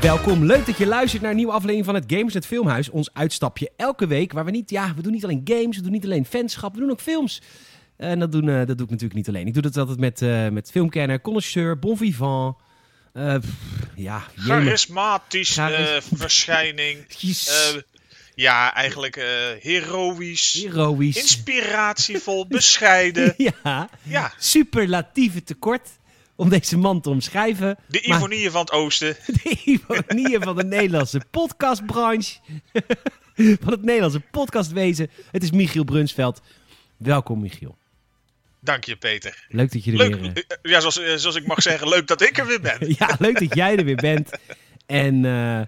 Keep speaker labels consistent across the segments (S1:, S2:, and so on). S1: Welkom, leuk dat je luistert naar een nieuwe aflevering van het Gamersnet Filmhuis. Ons uitstapje elke week, waar we niet, ja, we doen niet alleen games, we doen niet alleen fanschap, we doen ook films. En dat, doen, eh, dat doe ik natuurlijk niet alleen. Ik doe dat altijd met, eh, met filmkenner, connoisseur, bon vivant. Eh, pff, ja, jemig.
S2: Charismatisch eh,
S1: Charis-
S2: verschijning.
S1: Jezus.
S2: Eh, ja, eigenlijk eh, heroïsch.
S1: heroïsch.
S2: Inspiratievol, bescheiden.
S1: Ja,
S2: Ja,
S1: superlatieve tekort om deze man te omschrijven.
S2: de
S1: Maar-
S2: ironieën van het oosten.
S1: de ironieën van de Nederlandse podcastbranche. van het Nederlandse podcastwezen. Het is Michiel Brunsveld. Welkom, Michiel.
S2: Dank je, Peter.
S1: Leuk dat je er
S2: Leuk,
S1: weer... eh,
S2: eh, ja, zoals, eh, zoals ik mag zeggen, leuk dat ik er weer ben.
S1: ja, leuk dat jij er weer bent. En, eh, nou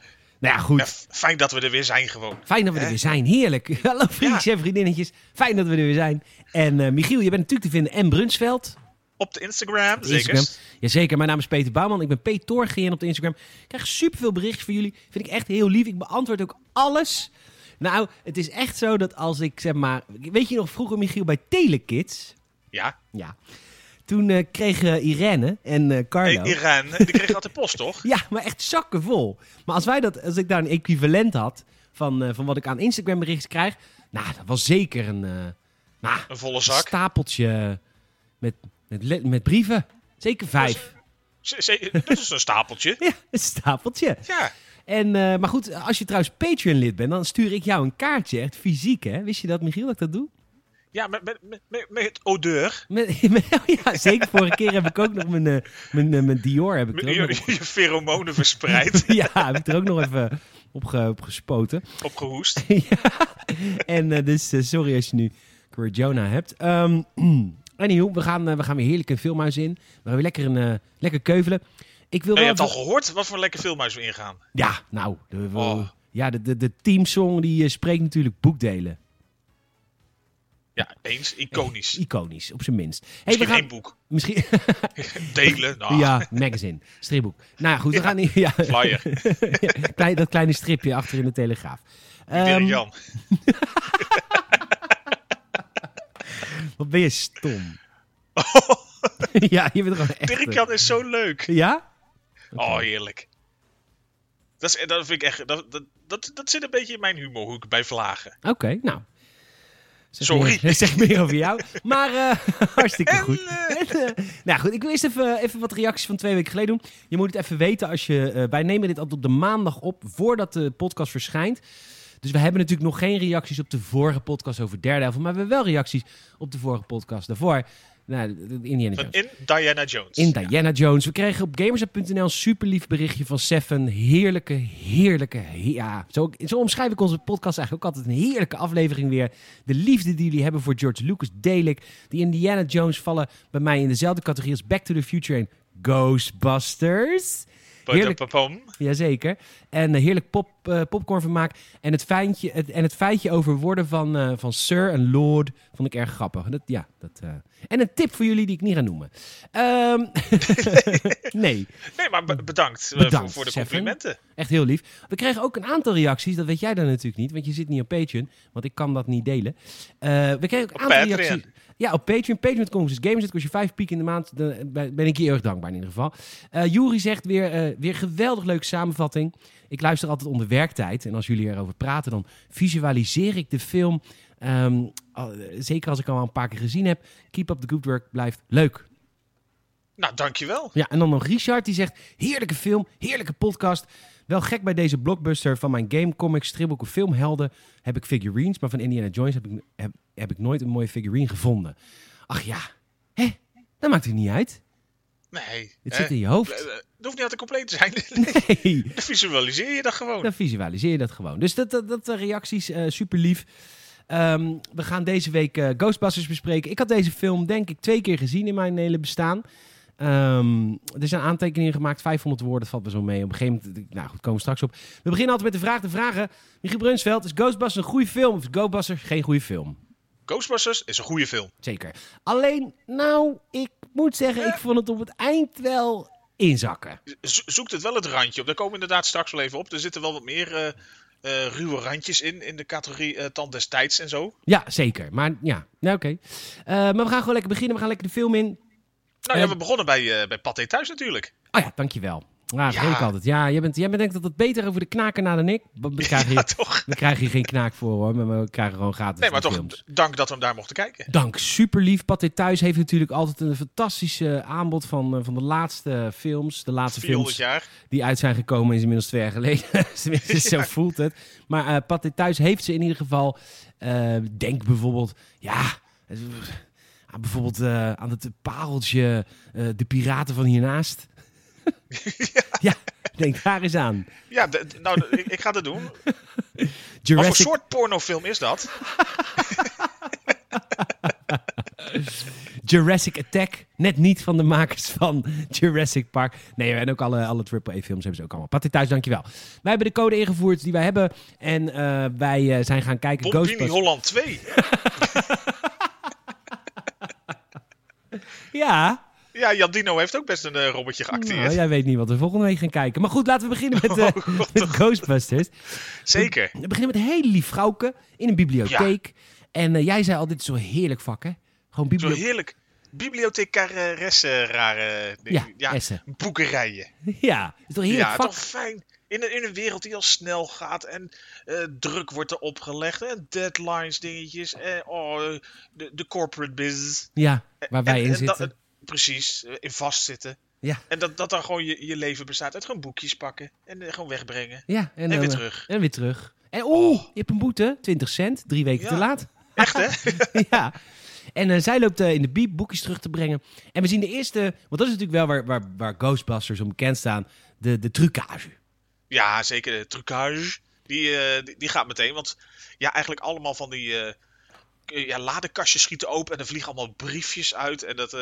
S1: ja,
S2: Ja,
S1: goed.
S2: f- fijn dat we er weer zijn gewoon.
S1: Fijn dat we er weer zijn. Heerlijk. Hallo vriendjes en vriendinnetjes. Fijn dat we er weer zijn. En eh, Michiel, je bent natuurlijk te vinden en Brunsveld.
S2: Op de Instagram, zeker.
S1: Instagram. Jazeker, mijn naam is Peter Bouwman. Ik ben Peter Torgien op de Instagram. Ik krijg superveel berichtjes van jullie. Vind ik echt heel lief. Ik beantwoord ook alles. Nou, het is echt zo dat als ik zeg maar... Weet je nog vroeger, Michiel, bij Telekids?
S2: Ja,
S1: Ja. Toen eh, kregen Irene en eh, Carlo...
S2: Eh, Iran, die kreeg altijd post, toch?
S1: Ja, maar echt zakken vol. Maar als, wij dat, als ik daar een equivalent had van, eh, van wat ik aan Instagram berichtjes krijg... Nou, dat was zeker een, eh, nou,
S2: Een volle
S1: een
S2: zak.
S1: stapeltje met, met, le- met brieven. Zeker vijf.
S2: Z- z- Dat is een stapeltje.
S1: Ja, een stapeltje.
S2: Ja,
S1: En, eh, maar goed, als je trouwens Patreon-lid bent, dan stuur ik jou een kaartje. Echt fysiek, hè? Wist je dat, Michiel, dat ik dat doe?
S2: ja met, met, met- met, met odeur.
S1: Met, met- oh ja, zeker. Vorige keer heb ik ook nog mijn, eh, mijn, eh, mijn Dior. Heb ik
S2: Je,
S1: er ook nog
S2: je, je pheromonen verspreid,
S1: op- ja, heb ik er ook nog even op, ge- op gespoten.
S2: opgehoest.
S1: En eh, dus, eh, sorry als je nu Cora Jonah hebt. Ehm anyhow, we gaan, eh, we gaan weer heerlijk een filmhuis in. We gaan weer lekker, een, eh, lekker keuvelen. Ik wil
S2: Ja, je
S1: wel
S2: hebt
S1: even-
S2: al gehoord wat voor lekker filmhuis we ingaan.
S1: Ja, nou. De, we-
S2: Oh.
S1: Ja, de, de, de teamsong die eh, spreekt natuurlijk boekdelen.
S2: Ja, eens. Iconisch.
S1: Iconisch, op zijn minst. Hey,
S2: Misschien
S1: we gaan...
S2: één boek.
S1: Misschien...
S2: Delen. Nou,
S1: Ja, magazine. Stripboek. Nou ja, goed, we
S2: Ja.
S1: gaan... in- Ja,
S2: Flyer.
S1: ja, klein- dat kleine stripje achter in de Telegraaf. Ehm,
S2: Dirk Jan.
S1: wat ben je stom. ja, je bent gewoon echt...
S2: Dirk Jan is zo leuk.
S1: Ja? eh.
S2: Oh, heerlijk. Dat, is, dat vind ik echt... Dat, dat, dat, dat zit een beetje in mijn humorhoek bij vlagen.
S1: Oké, nou. Zeg
S2: Sorry.
S1: Meer, zeg meer over jou. Maar eh, hartstikke
S2: En,
S1: goed.
S2: eh,
S1: En, eh, nou goed, ik wil eerst even, even wat reacties van twee weken geleden doen. Je moet het even weten als je. eh, wij nemen dit altijd op de maandag op voordat de podcast verschijnt. Dus we hebben natuurlijk nog geen reacties op de vorige podcast over Daredevil. Maar we hebben wel reacties op de vorige podcast daarvoor. Nou, Indiana
S2: van
S1: Jones.
S2: in Diana Jones.
S1: In Diana Jones. We kregen op gamers.nl een super lief berichtje van Seven. Heerlijke, heerlijke. he- ja, zo, zo omschrijf ik onze podcast eigenlijk ook altijd. Een heerlijke aflevering weer. De liefde die jullie hebben voor George Lucas deel ik. Die Indiana Jones vallen bij mij in dezelfde categorie als Back to the Future en Ghostbusters. heerlijk.
S2: Padapapam.
S1: Jazeker. En eh, heerlijk pop, eh, popcorn vermaak. En het, feintje, het, en het feitje over woorden van, eh, van Sir en Lord vond ik erg grappig. Dat, ja, dat, eh. En een tip voor jullie die ik niet ga noemen. Ehm, nee,
S2: Nee, maar be- bedankt, eh,
S1: Hm. Bedankt,
S2: voor, voor de
S1: Seven.
S2: complimenten.
S1: echt heel lief. We kregen ook een aantal reacties. Dat weet jij dan natuurlijk niet, want je zit niet op Patreon. Want ik kan dat niet delen. Eh, we kregen ook een aantal
S2: Patreon.
S1: reacties. Ja, op Patreon. Patreon.com is games. Het kost je vijf piek in de maand. Dan eh, ben ik je heel erg dankbaar in ieder geval. Eh Juri zegt weer, eh, weer geweldig leuke samenvatting. Ik luister altijd onder werktijd. En als jullie erover praten, dan visualiseer ik de film. Ehm, al- zeker als ik hem al een paar keer gezien heb. Keep up the good work. Blijft leuk.
S2: Nou, dankjewel.
S1: Ja, en dan nog Richard die zegt: heerlijke film, heerlijke podcast. Wel gek bij deze blockbuster van mijn game, comics, stripboek of filmhelden heb ik figurines, maar van Indiana Jones heb ik, heb, heb ik nooit een mooie figurine gevonden. Ach ja, hè? Dat maakt het niet uit.
S2: Nee.
S1: Het
S2: eh,
S1: zit in je
S2: eh,
S1: hoofd.
S2: eh, Het hoeft niet altijd compleet te zijn.
S1: Hey,
S2: Dan visualiseer je dat gewoon.
S1: dan visualiseer je dat gewoon. Dus dat, dat, dat eh, reacties, eh, super lief. Ehm, we gaan deze week eh, Ghostbusters bespreken. Ik had deze film denk ik twee keer gezien in mijn hele bestaan. Ehm, er zijn aantekeningen gemaakt, 500 woorden valt me zo mee. Op een gegeven moment, nou goed, komen we straks op. We beginnen altijd met de vraag te vragen. Michiel Brunsveld, is Ghostbusters een goede film of is Ghostbusters geen goede film?
S2: Ghostbusters is een goede film.
S1: Zeker. Alleen, nou, ik moet zeggen, ik vond het op het eind wel inzakken.
S2: Zo- zoekt het wel het randje op. Daar komen we inderdaad straks wel even op. Er zitten wel wat meer eh, eh, ruwe randjes in, in de categorie eh, tand des tijds en zo.
S1: Ja, zeker. Maar ja, nou, oké. Eh, maar we gaan gewoon lekker beginnen, we gaan lekker de film in.
S2: Nou
S1: Eh,
S2: ja, we begonnen bij, eh bij Pathé thuis natuurlijk.
S1: Oh ja, dankjewel. Ja, dat
S2: Ja.
S1: weet ik altijd. Ja, jij, bent, jij denkt dat het beter over de knaken na dan ik. We we krijgen
S2: Ja,
S1: hier,
S2: Ah, toch?
S1: we krijgen hier geen knaak voor hoor, maar we krijgen gewoon gratis
S2: Nee, maar
S1: die
S2: toch,
S1: films.
S2: dank dat we hem daar mochten kijken.
S1: Dank, super lief. Pathé Thuis heeft natuurlijk altijd een fantastische aanbod van, eh, van de laatste films. De laatste
S2: 400
S1: films
S2: jaar.
S1: die uit zijn gekomen is inmiddels twee jaar geleden. Tenminste, zo voelt het. Maar eh Pathé Thuis heeft ze in ieder geval. eh, denk bijvoorbeeld, ja, eh, aan bijvoorbeeld eh, aan het pareltje eh, De Piraten van hiernaast. ja, denk daar eens aan.
S2: Ja, de- de- nou, de- ik, ik ga dat doen. Wat voor
S1: Jurassic,
S2: soort pornofilm is dat?
S1: Jurassic Attack. Net niet van de makers van Jurassic Park. Nee, en ook alle, alle AAA-films hebben ze ook allemaal. Pathé Thuis, dankjewel. Wij hebben de code ingevoerd die wij hebben. En eh, wij eh, zijn gaan kijken.
S2: Bombini
S1: Ghostbusters.
S2: Holland 2.
S1: Ja,
S2: Ja, Jan Dino heeft ook best een eh, robotje geacteerd.
S1: Nou, jij weet niet wat we volgende week gaan kijken. Maar goed, laten we beginnen met,
S2: Oh,
S1: eh, met Ghostbusters.
S2: Zeker.
S1: We beginnen met een hele lief vrouwke in een bibliotheek. En eh, jij zei al, dit is zo'n heerlijk vak, hè? Gewoon
S2: Zo
S1: bibliotheek.
S2: heerlijk. Bibliothecaresse, rare
S1: Ja,
S2: dingen.
S1: ja.
S2: Ja, boekerijen.
S1: Ja, het is toch een heerlijk
S2: ja,
S1: vak?
S2: toch fijn. In een, in een wereld die al snel gaat en eh, druk wordt er opgelegd. En deadlines, dingetjes. En, oh, de, de corporate biz.
S1: Ja, waar wij
S2: En-
S1: in
S2: en dat-
S1: zitten.
S2: precies, eh, in vastzitten.
S1: Ja.
S2: En dat, dat dan gewoon je, je leven bestaat uit gewoon boekjes pakken en eh, gewoon wegbrengen.
S1: Ja, en,
S2: en
S1: dan,
S2: weer
S1: eh,
S2: terug. Oh.
S1: En weer terug. En oeh, je hebt een boete, 20 cent, drie weken
S2: Ja.
S1: te laat.
S2: Echt hè?
S1: ja. En eh, zij loopt eh, in de bieb boekjes terug te brengen. En we zien de eerste, want dat is natuurlijk wel waar, waar, waar Ghostbusters om bekend staan, de, de trucage.
S2: ja, zeker. De trucage. Die, eh, die, die gaat meteen. Want ja, eigenlijk allemaal van die eh, k- ja, ladekastjes schieten open en er vliegen allemaal briefjes uit. En dat, eh,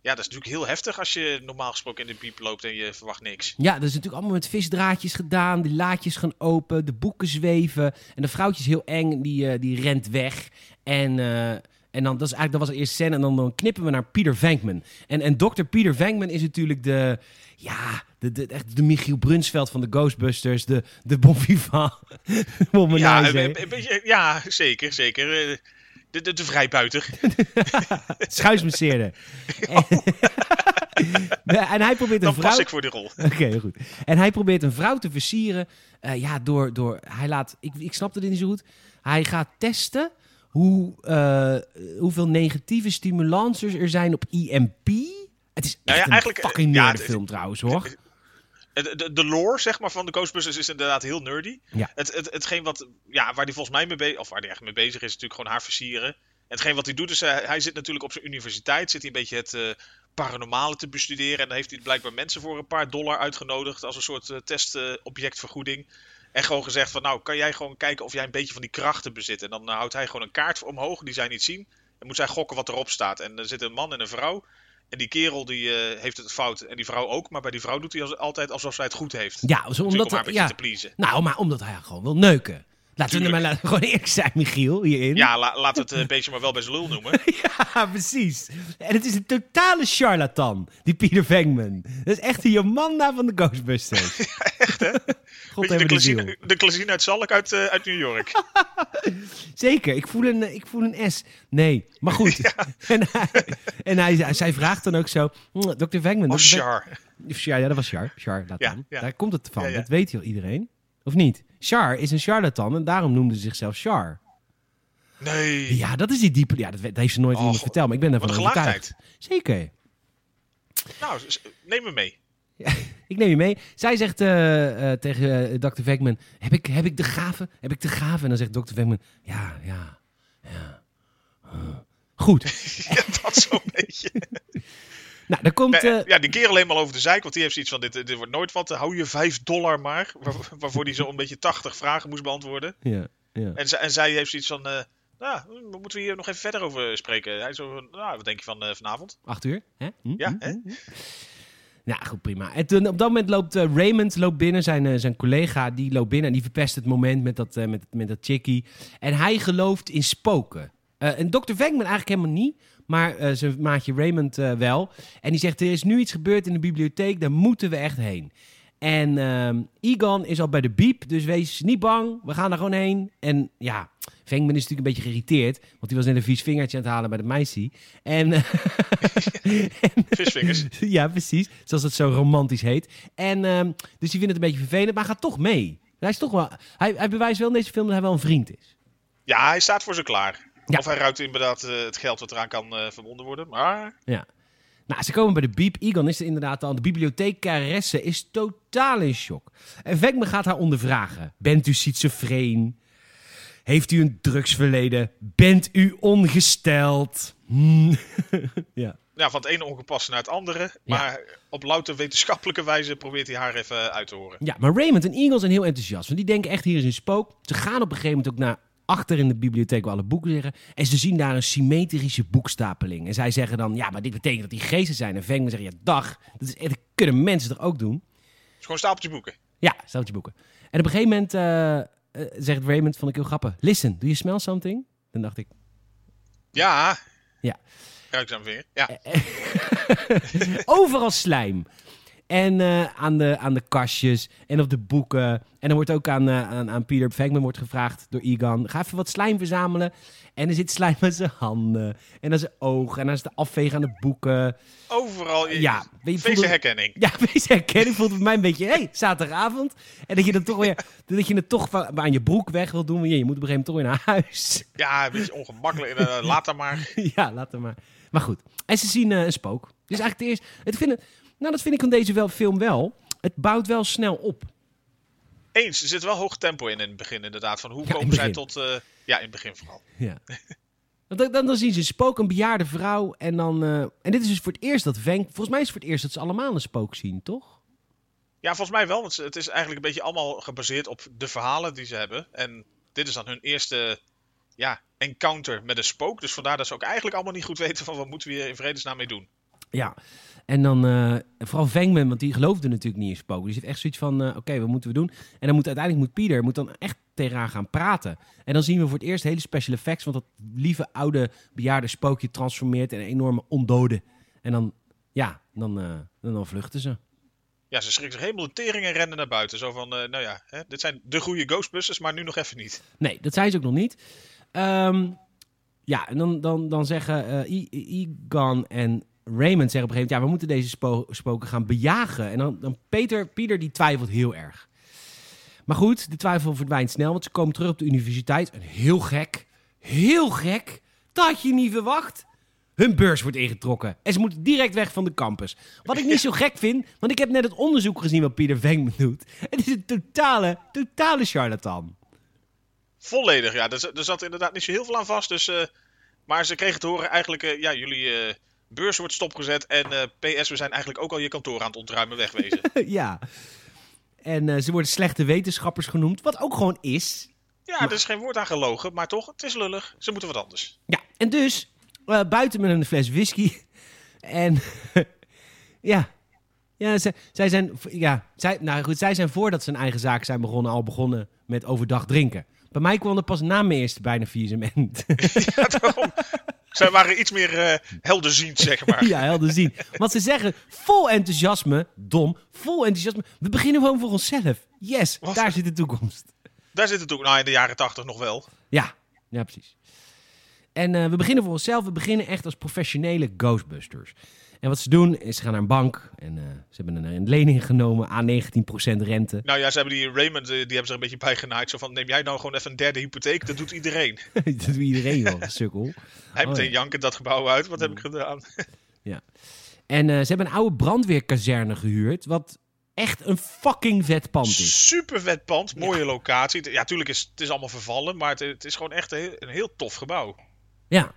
S2: ja, dat is natuurlijk heel heftig als je normaal gesproken in de piep loopt en je verwacht niks.
S1: Ja, dat is natuurlijk allemaal met visdraadjes gedaan. Die laadjes gaan open, de boeken zweven. En dat vrouwtje is heel eng, die, eh, die rent weg. En, eh, en dan, dat, is eigenlijk, dat was de eerste scène. En dan, dan knippen we naar Pieter Venkman. En, en dokter Pieter Venkman is natuurlijk de... Ja, de, de, echt de Michiel Brunsveld van de Ghostbusters. De, de bon vivant. Bon
S2: ja,
S1: menage.
S2: een- een beetje- ja, zeker, zeker. Eh, De, de, de vrijbuiter.
S1: Schuismasseerder. En, en hij probeert een
S2: Oh. Dan
S1: vrouw...
S2: pas ik voor die rol.
S1: Oké, heel goed. En hij probeert een vrouw te versieren. eh, ja, door, door. Hij laat. Ik, ik snapte dit niet zo goed. Hij gaat testen hoe, eh, hoeveel negatieve stimulansers er zijn op EMP. Het is echt
S2: ja,
S1: een
S2: eigenlijk, eh,
S1: fucking
S2: ja,
S1: nerd
S2: het-
S1: film trouwens, hoor.
S2: Eh, De, de, de lore zeg maar, van de Ghostbusters is inderdaad heel nerdy.
S1: Ja.
S2: Het, het, hetgeen wat, ja, waar hij volgens mij mee bezig of waar hij echt mee bezig is, is natuurlijk gewoon haar versieren. En hetgeen wat hij doet, is eh, hij zit natuurlijk op zijn universiteit, zit hij een beetje het eh, paranormale te bestuderen. En daar heeft hij blijkbaar mensen voor een paar dollar uitgenodigd als een soort eh, testobjectvergoeding. en gewoon gezegd van, nou, kan jij gewoon kijken of jij een beetje van die krachten bezit. En dan eh, houdt hij gewoon een kaart omhoog die zij niet zien. En moet zij gokken wat erop staat. En er zit een man en een vrouw. En die kerel die eh, heeft het fout. En die vrouw ook. Maar bij die vrouw doet hij als, altijd alsof zij het goed heeft.
S1: Ja, zo,
S2: Natuurlijk
S1: omdat.
S2: om haar een beetje
S1: ja,
S2: te pleasen.
S1: nou, maar omdat hij haar gewoon wil neuken. Laten we
S2: Tuurlijk.
S1: maar laten, we gewoon eerlijk zijn, Michiel, hierin.
S2: Ja, la- laat het eh, beetje maar wel bij zijn lul noemen.
S1: Ja, precies. En het is een totale charlatan, die Peter Venkman. Dat is echt de Jomanda van de Ghostbusters. echt, hè? God
S2: Weet je, de
S1: hebben de ziel.
S2: klazien, de klazien uit Zalk uit, eh, uit New York.
S1: Zeker, ik voel een, eh, ik voel een S. Nee, maar goed. En, hij, en hij, zij vraagt dan ook zo... "Hm, Dr. Venkman...
S2: Of
S1: Dr. Venkman-
S2: Oh, Char.
S1: Of Char, ja, dat was Char. Char, laat
S2: Ja,
S1: dan.
S2: ja.
S1: Daar komt het van,
S2: Ja, ja.
S1: dat weet heel iedereen. Of niet? Char is een charlatan en daarom noemde ze zichzelf Char.
S2: Nee.
S1: Ja, dat is die diepe... Ja, dat, we- dat heeft ze nooit
S2: Oh,
S1: iemand
S2: God.
S1: verteld, maar ik ben daarvan
S2: Wat een
S1: overtuigd. Zeker.
S2: Nou, s- neem me mee.
S1: Ik neem je mee. Zij zegt eh, eh, tegen eh, Dr. Venkman, heb ik, heb ik de gave? Heb ik de gave? En dan zegt Dr. Venkman, ja, ja, ja. Huh. Goed.
S2: Ja, dat zo'n beetje.
S1: Nou, dan komt...
S2: Nee,
S1: eh,
S2: ja, die kerel helemaal over de zeik. Want die heeft zoiets van, dit, dit wordt nooit wat. eh, Hou je 5 dollar maar. waar- waarvoor hij zo'n beetje 80 vragen moest beantwoorden.
S1: Ja, ja.
S2: En, zij- en zij heeft zoiets van, eh nou, we moeten hier nog even verder over spreken. Hij zo van, nou, wat denk je van eh, vanavond?
S1: Acht uur? Hè? Hm,
S2: Ja,
S1: hm,
S2: hè?
S1: hm, hm. Nou, goed, prima. En toen, op dat moment loopt eh, Raymond loopt binnen, zijn, eh, zijn collega, die loopt binnen en die verpest het moment met dat, eh, met, met dat chickie. En hij gelooft in spoken. Eh, en Dr. Venkman eigenlijk helemaal niet, maar eh, zijn maatje Raymond eh, wel. En die zegt, er is nu iets gebeurd in de bibliotheek, daar moeten we echt heen. En ehm Egon is al bij de biep, dus wees niet bang, we gaan er gewoon heen. En ja, Venkman is natuurlijk een beetje geïrriteerd, want die was net een vies vingertje aan het halen bij de meisje. En, eh, en-
S2: Visvingers.
S1: ja, precies. Zoals het zo romantisch heet. En, ehm, dus die vindt het een beetje vervelend, maar hij gaat toch mee. Hij, is toch wel, hij, hij bewijst wel in deze film dat hij wel een vriend is.
S2: Ja, hij staat voor ze klaar.
S1: Ja.
S2: Of hij ruikt inderdaad eh, het geld wat eraan kan eh, verbonden worden. Maar
S1: Ja. Nou, ze komen bij de biep. Egon is er inderdaad al. De bibliothecaresse is totaal in shock. En Vekme gaat haar ondervragen. Bent u schizofreen? Heeft u een drugsverleden? Bent u ongesteld? Hmm. ja.
S2: ja, van het ene ongepaste naar het andere. Maar op louter wetenschappelijke wijze probeert hij haar even uit te horen.
S1: ja, maar Raymond en Egon zijn heel enthousiast. Want die denken echt, hier is een spook. Ze gaan op een gegeven moment ook naar achter in de bibliotheek waar alle boeken liggen. En ze zien daar een symmetrische boekstapeling. En zij zeggen dan, ja, maar dit betekent dat die geesten zijn. En Vekme zegt, ja, dag. Dat, is, echt- dat kunnen mensen toch ook doen?
S2: Het is gewoon een stapeltje boeken.
S1: Ja, stapeltje boeken. En op een gegeven moment eh, eh, zegt Raymond, vond ik heel grappig. Listen, do you smell something? Dan dacht ik,
S2: Ja.
S1: Ja. Eh,
S2: Ruikt aan mijn vinger. Ja.
S1: overal slijm. En eh, aan, de, aan de kastjes en op de boeken. En er wordt ook aan, eh, aan, aan Peter Venkman wordt gevraagd door Egan... ga even wat slijm verzamelen. En er zit slijm aan zijn handen en aan zijn ogen... en aan zijn afvegen aan de boeken.
S2: Overal. Je,
S1: Ja,
S2: ja.
S1: weet je, voelde-
S2: herkenning.
S1: Ja, wees herkenning voelt het bij mij een beetje... hey, zaterdagavond. En dat je, dat, toch weer, dat je het toch van- aan je broek weg wil doen. want Je moet op een gegeven moment toch weer naar huis.
S2: Ja, een beetje ongemakkelijk. Eh, laat dat maar.
S1: ja, laat hem maar. Maar goed. En ze zien eh, een spook. Dus eigenlijk het eerste. Het vind ik- nou, dat vind ik van deze wel, film wel. Het bouwt wel snel op.
S2: Eens, er zit wel hoog tempo in in het begin inderdaad. Van hoe
S1: Ja, in
S2: komen zij
S1: het begin.
S2: tot... eh, ja, in het begin vooral.
S1: Ja. Want Dan, dan, dan zien ze een spook, een bejaarde vrouw. En, dan, eh, en dit is dus voor het eerst dat Venk. Volgens mij is het voor het eerst dat ze allemaal een spook zien, toch?
S2: Ja, volgens mij wel. Want ze- het is eigenlijk een beetje allemaal gebaseerd op de verhalen die ze hebben. En dit is dan hun eerste ja, encounter met een spook. Dus vandaar dat ze ook eigenlijk allemaal niet goed weten van wat moeten we hier in vredesnaam mee doen.
S1: Ja. En dan, eh, vooral Venkman, want die geloofde natuurlijk niet in spook. Die zit echt zoiets van, eh, oké, wat moeten we doen? En dan moet uiteindelijk moet Pieter moet dan echt tegen haar gaan praten. En dan zien we voor het eerst hele special effects, want dat lieve oude bejaarde spookje transformeert in een enorme ondode. En dan, ja, dan, eh, dan, dan vluchten ze.
S2: Ja, ze schrikken zich helemaal de tering en rennen naar buiten. Zo van, eh, nou ja, hè, dit zijn de goede Ghostbusters, maar nu nog even niet.
S1: Nee, dat zijn ze ook nog niet. Ehm, ja, en dan, dan, dan zeggen eh, I- I- Egan en Raymond zeggen op een gegeven moment... ja, we moeten deze spo- spoken gaan bejagen. En dan, dan Peter, Pieter, die twijfelt heel erg. Maar goed, de twijfel verdwijnt snel, want ze komen terug op de universiteit. En heel gek, heel gek, dat had je niet verwacht. Hun beurs wordt ingetrokken en ze moeten direct weg van de campus. Wat ik niet zo gek vind, want ik heb net het onderzoek gezien wat Pieter Venkman doet. Het is een totale, totale charlatan.
S2: Volledig, ja. Er, z- er zat inderdaad niet zo heel veel aan vast. Dus, eh, maar ze kregen te horen eigenlijk, eh, ja, jullie eh, beurs wordt stopgezet. En eh, PS, we zijn eigenlijk ook al je kantoor aan het ontruimen, wegwezen.
S1: ja. En eh, ze worden slechte wetenschappers genoemd, wat ook gewoon is.
S2: ja, er is geen woord aan gelogen, maar toch, het is lullig. Ze moeten wat anders.
S1: Ja, en dus eh, buiten met een fles whisky. En ja, ja ze- zij zijn, ja zij, nou goed, zij zijn voordat ze een eigen zaak zijn begonnen, al begonnen met overdag drinken. Bij mij kwam er pas na mijn eerste bijna faillissement.
S2: Ja, daarom. Zij waren iets meer eh, helderziend, zeg maar.
S1: ja, helder zien. Want ze zeggen vol enthousiasme, dom, vol enthousiasme. We beginnen gewoon voor onszelf. Yes,
S2: Wat?
S1: daar zit de toekomst.
S2: Daar zit het ook, nou in de jaren tachtig nog wel.
S1: Ja, ja precies. En eh, we beginnen voor onszelf. We beginnen echt als professionele Ghostbusters. En wat ze doen, is ze gaan naar een bank. En eh, ze hebben een, een lening genomen aan 19% rente.
S2: Nou ja, ze hebben die Raymond, eh, die hebben zich een beetje bijgenaaid. Zo van, neem jij nou gewoon even een derde hypotheek? Dat doet iedereen.
S1: dat doet iedereen wel, sukkel.
S2: Hij
S1: Oh,
S2: meteen
S1: ja. Mm.
S2: jankend dat gebouw uit. Wat heb ik gedaan?
S1: En eh, ze hebben een oude brandweerkazerne gehuurd. Wat echt een fucking vet pand is.
S2: Super vet pand, mooie locatie. Ja, tuurlijk is het is allemaal vervallen, maar het, het is gewoon echt een heel, een heel tof gebouw.
S1: Ja,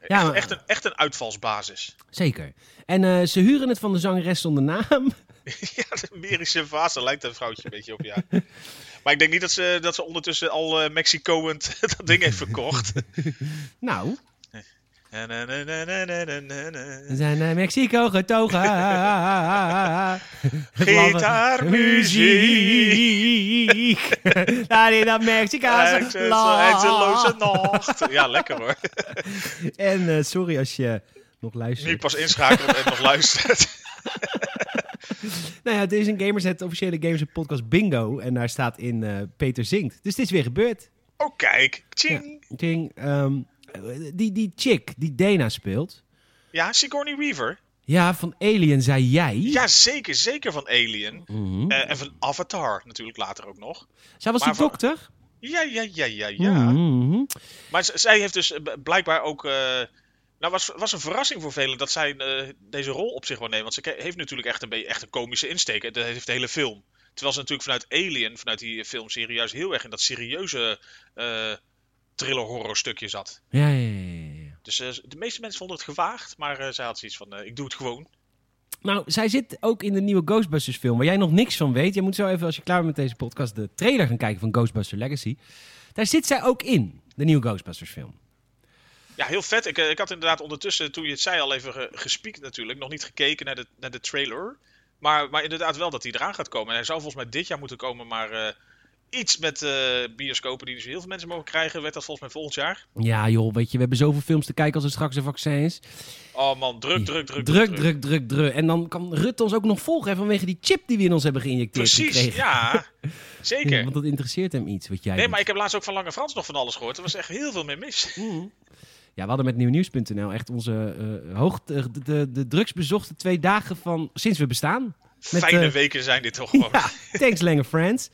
S2: echt,
S1: maar-
S2: echt, een, echt een uitvalsbasis.
S1: zeker. En eh, ze huren het van de zangeres zonder naam.
S2: ja, de Merische vaas, daar lijkt dat vrouwtje een beetje op, ja. Maar ik denk niet dat ze, dat ze ondertussen al eh Mexico dat ding heeft verkocht.
S1: Nou,
S2: Na, na, na, na, na, na, na, na.
S1: we zijn naar Mexico getogen.
S2: Gitaarmuziek.
S1: muziek. Daar in dat Mexicaanse
S2: Eindeloze
S1: land.
S2: nacht. Ja, lekker hoor.
S1: En eh, sorry als je nog
S2: Nu
S1: luistert.
S2: pas inschakelt en nog luistert.
S1: Nou ja, dit is een Gamers, het officiële Gamers podcast bingo. En daar staat in eh, Peter zingt. Dus dit is weer gebeurd.
S2: Oh, kijk. Ching.
S1: Ding, ehm, die, die chick die Dana speelt.
S2: Ja, Sigourney Weaver.
S1: Ja, van Alien zei jij.
S2: Ja, zeker. Zeker van Alien.
S1: Mhm.
S2: Eh, en van Avatar natuurlijk later ook nog.
S1: Zij was de
S2: maar van-
S1: dokter.
S2: Ja, ja, ja, ja, ja.
S1: Mhm.
S2: Maar z- zij heeft dus eh, b- blijkbaar ook... eh, nou, was, was een verrassing voor velen dat zij eh, deze rol op zich wil nemen. Want ze ke- heeft natuurlijk echt een, beetje- echt een komische insteek. En Dat heeft de hele film. Terwijl ze natuurlijk vanuit Alien, vanuit die eh, filmserie, juist heel erg in dat serieuze eh thriller-horror stukje zat.
S1: Ja, ja, ja, ja, ja.
S2: Dus eh, de meeste mensen vonden het gewaagd, maar eh, zij had zoiets van, eh, ik doe het gewoon.
S1: Nou, zij zit ook in de nieuwe Ghostbusters film, waar jij nog niks van weet. Je moet zo even, als je klaar bent met deze podcast, de trailer gaan kijken van Ghostbusters Legacy. Daar zit zij ook in, de nieuwe Ghostbusters film.
S2: Ja, heel vet. Ik, eh, ik had inderdaad ondertussen, toen je het zei, al even ge- gespiekt natuurlijk. Nog niet gekeken naar de, naar de trailer. Maar, maar inderdaad wel dat hij eraan gaat komen. En hij zou volgens mij dit jaar moeten komen, maar eh, iets met eh, bioscopen die dus heel veel mensen mogen krijgen, werd dat volgens mij volgend jaar.
S1: Ja, joh, weet je, we hebben zoveel films te kijken als er straks een vaccin is.
S2: Oh man, druk, druk, druk, druk.
S1: Druk, druk, druk, druk. En dan kan Rutte ons ook nog volgen hè, vanwege die chip die we in ons hebben geïnjecteerd.
S2: Precies,
S1: gekregen.
S2: ja.
S1: Ja,
S2: Zeker.
S1: want dat interesseert hem iets, wat jij
S2: Nee,
S1: doet.
S2: maar ik heb laatst ook van Lange Frans nog van alles gehoord. Er was echt heel veel meer mis.
S1: Ja, we hadden met nieuwnieuws.nl echt onze eh hoogte- de, de, de drugsbezochte twee dagen van sinds we bestaan. Met,
S2: Fijne
S1: eh,
S2: weken zijn dit toch gewoon.
S1: Ja, thanks Lange Friends.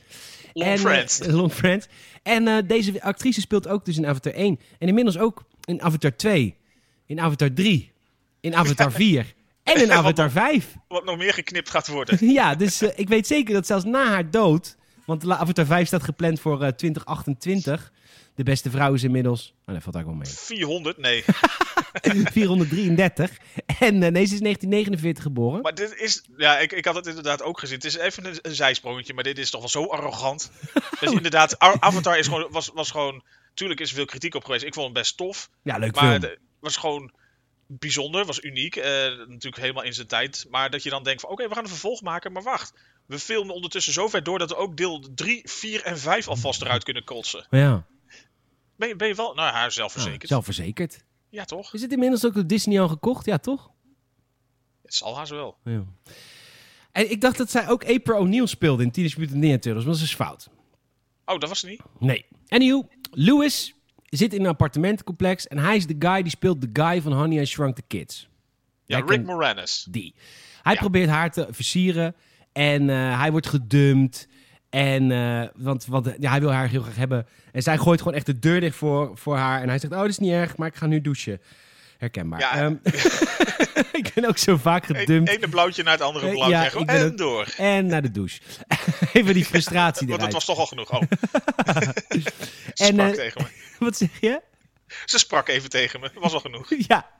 S2: Long
S1: En, eh,
S2: friends.
S1: long Friends. En eh, deze actrice speelt ook dus in Avatar 1. En inmiddels ook in Avatar 2. In Avatar 3. In Avatar 4. En in
S2: Ja, want-
S1: Avatar 5.
S2: Wat nog meer geknipt gaat worden.
S1: ja, dus eh, ik weet zeker dat zelfs na haar dood... Want La- Avatar 5 staat gepland voor eh, 2028. De beste vrouw is inmiddels... Oh, dat valt ook wel mee.
S2: 400? Nee.
S1: 433. En eh, nee, ze is 1949 geboren.
S2: Maar dit is. Ja, ik, ik had het inderdaad ook gezien. Het is even een, een zijsprongetje, maar dit is toch wel zo arrogant. Dus inderdaad, A- Avatar is gewoon, was, was gewoon. Tuurlijk is er veel kritiek op geweest. Ik vond hem best tof.
S1: Ja, leuk
S2: Maar
S1: film.
S2: het was gewoon bijzonder, was uniek. eh, natuurlijk helemaal in zijn tijd. Maar dat je dan denkt: van oké, we gaan een vervolg maken, maar wacht. We filmen ondertussen zo ver door dat we ook deel 3, 4 en 5 alvast eruit kunnen kotsen.
S1: Ja,
S2: Ben, je- ben je wel. Nou, haar zelfverzekerd.
S1: Ah, zelfverzekerd.
S2: Ja, toch?
S1: Is het inmiddels ook door Disney al gekocht? Ja, toch?
S2: Het zal haast wel.
S1: Ja. En ik dacht dat zij ook April O'Neil speelde in Teenage Mutant Ninja Turtles, maar dat is dus fout.
S2: Oh, dat was het niet.
S1: Nee. Anywho, Lewis zit in een appartementencomplex en hij is de guy die speelt de guy van Honey I Shrunk the Kids.
S2: Ja,
S1: Jij
S2: Rick
S1: kent
S2: Moranis.
S1: Die. Hij
S2: Ja.
S1: probeert haar te versieren en eh, hij wordt gedumpt. En, eh, want want ja, hij wil haar heel graag hebben. En zij gooit gewoon echt de deur dicht voor, voor haar. En hij zegt, oh, dat is niet erg, maar ik ga nu douchen. Herkenbaar.
S2: Ja.
S1: Ehm, ik ben ook zo vaak
S2: Eén
S1: gedumpt.
S2: ene blauwtje naar het andere
S1: Eh,
S2: blauwtje.
S1: ja,
S2: en gewoon-
S1: ik ben
S2: en
S1: ook-
S2: door.
S1: En naar de douche. Even die frustratie
S2: Want
S1: eruit.
S2: het was toch al genoeg. Oh. Ze
S1: En,
S2: sprak
S1: eh,
S2: tegen me.
S1: Wat zeg je?
S2: Ze sprak even tegen me. Was al genoeg.
S1: Ja.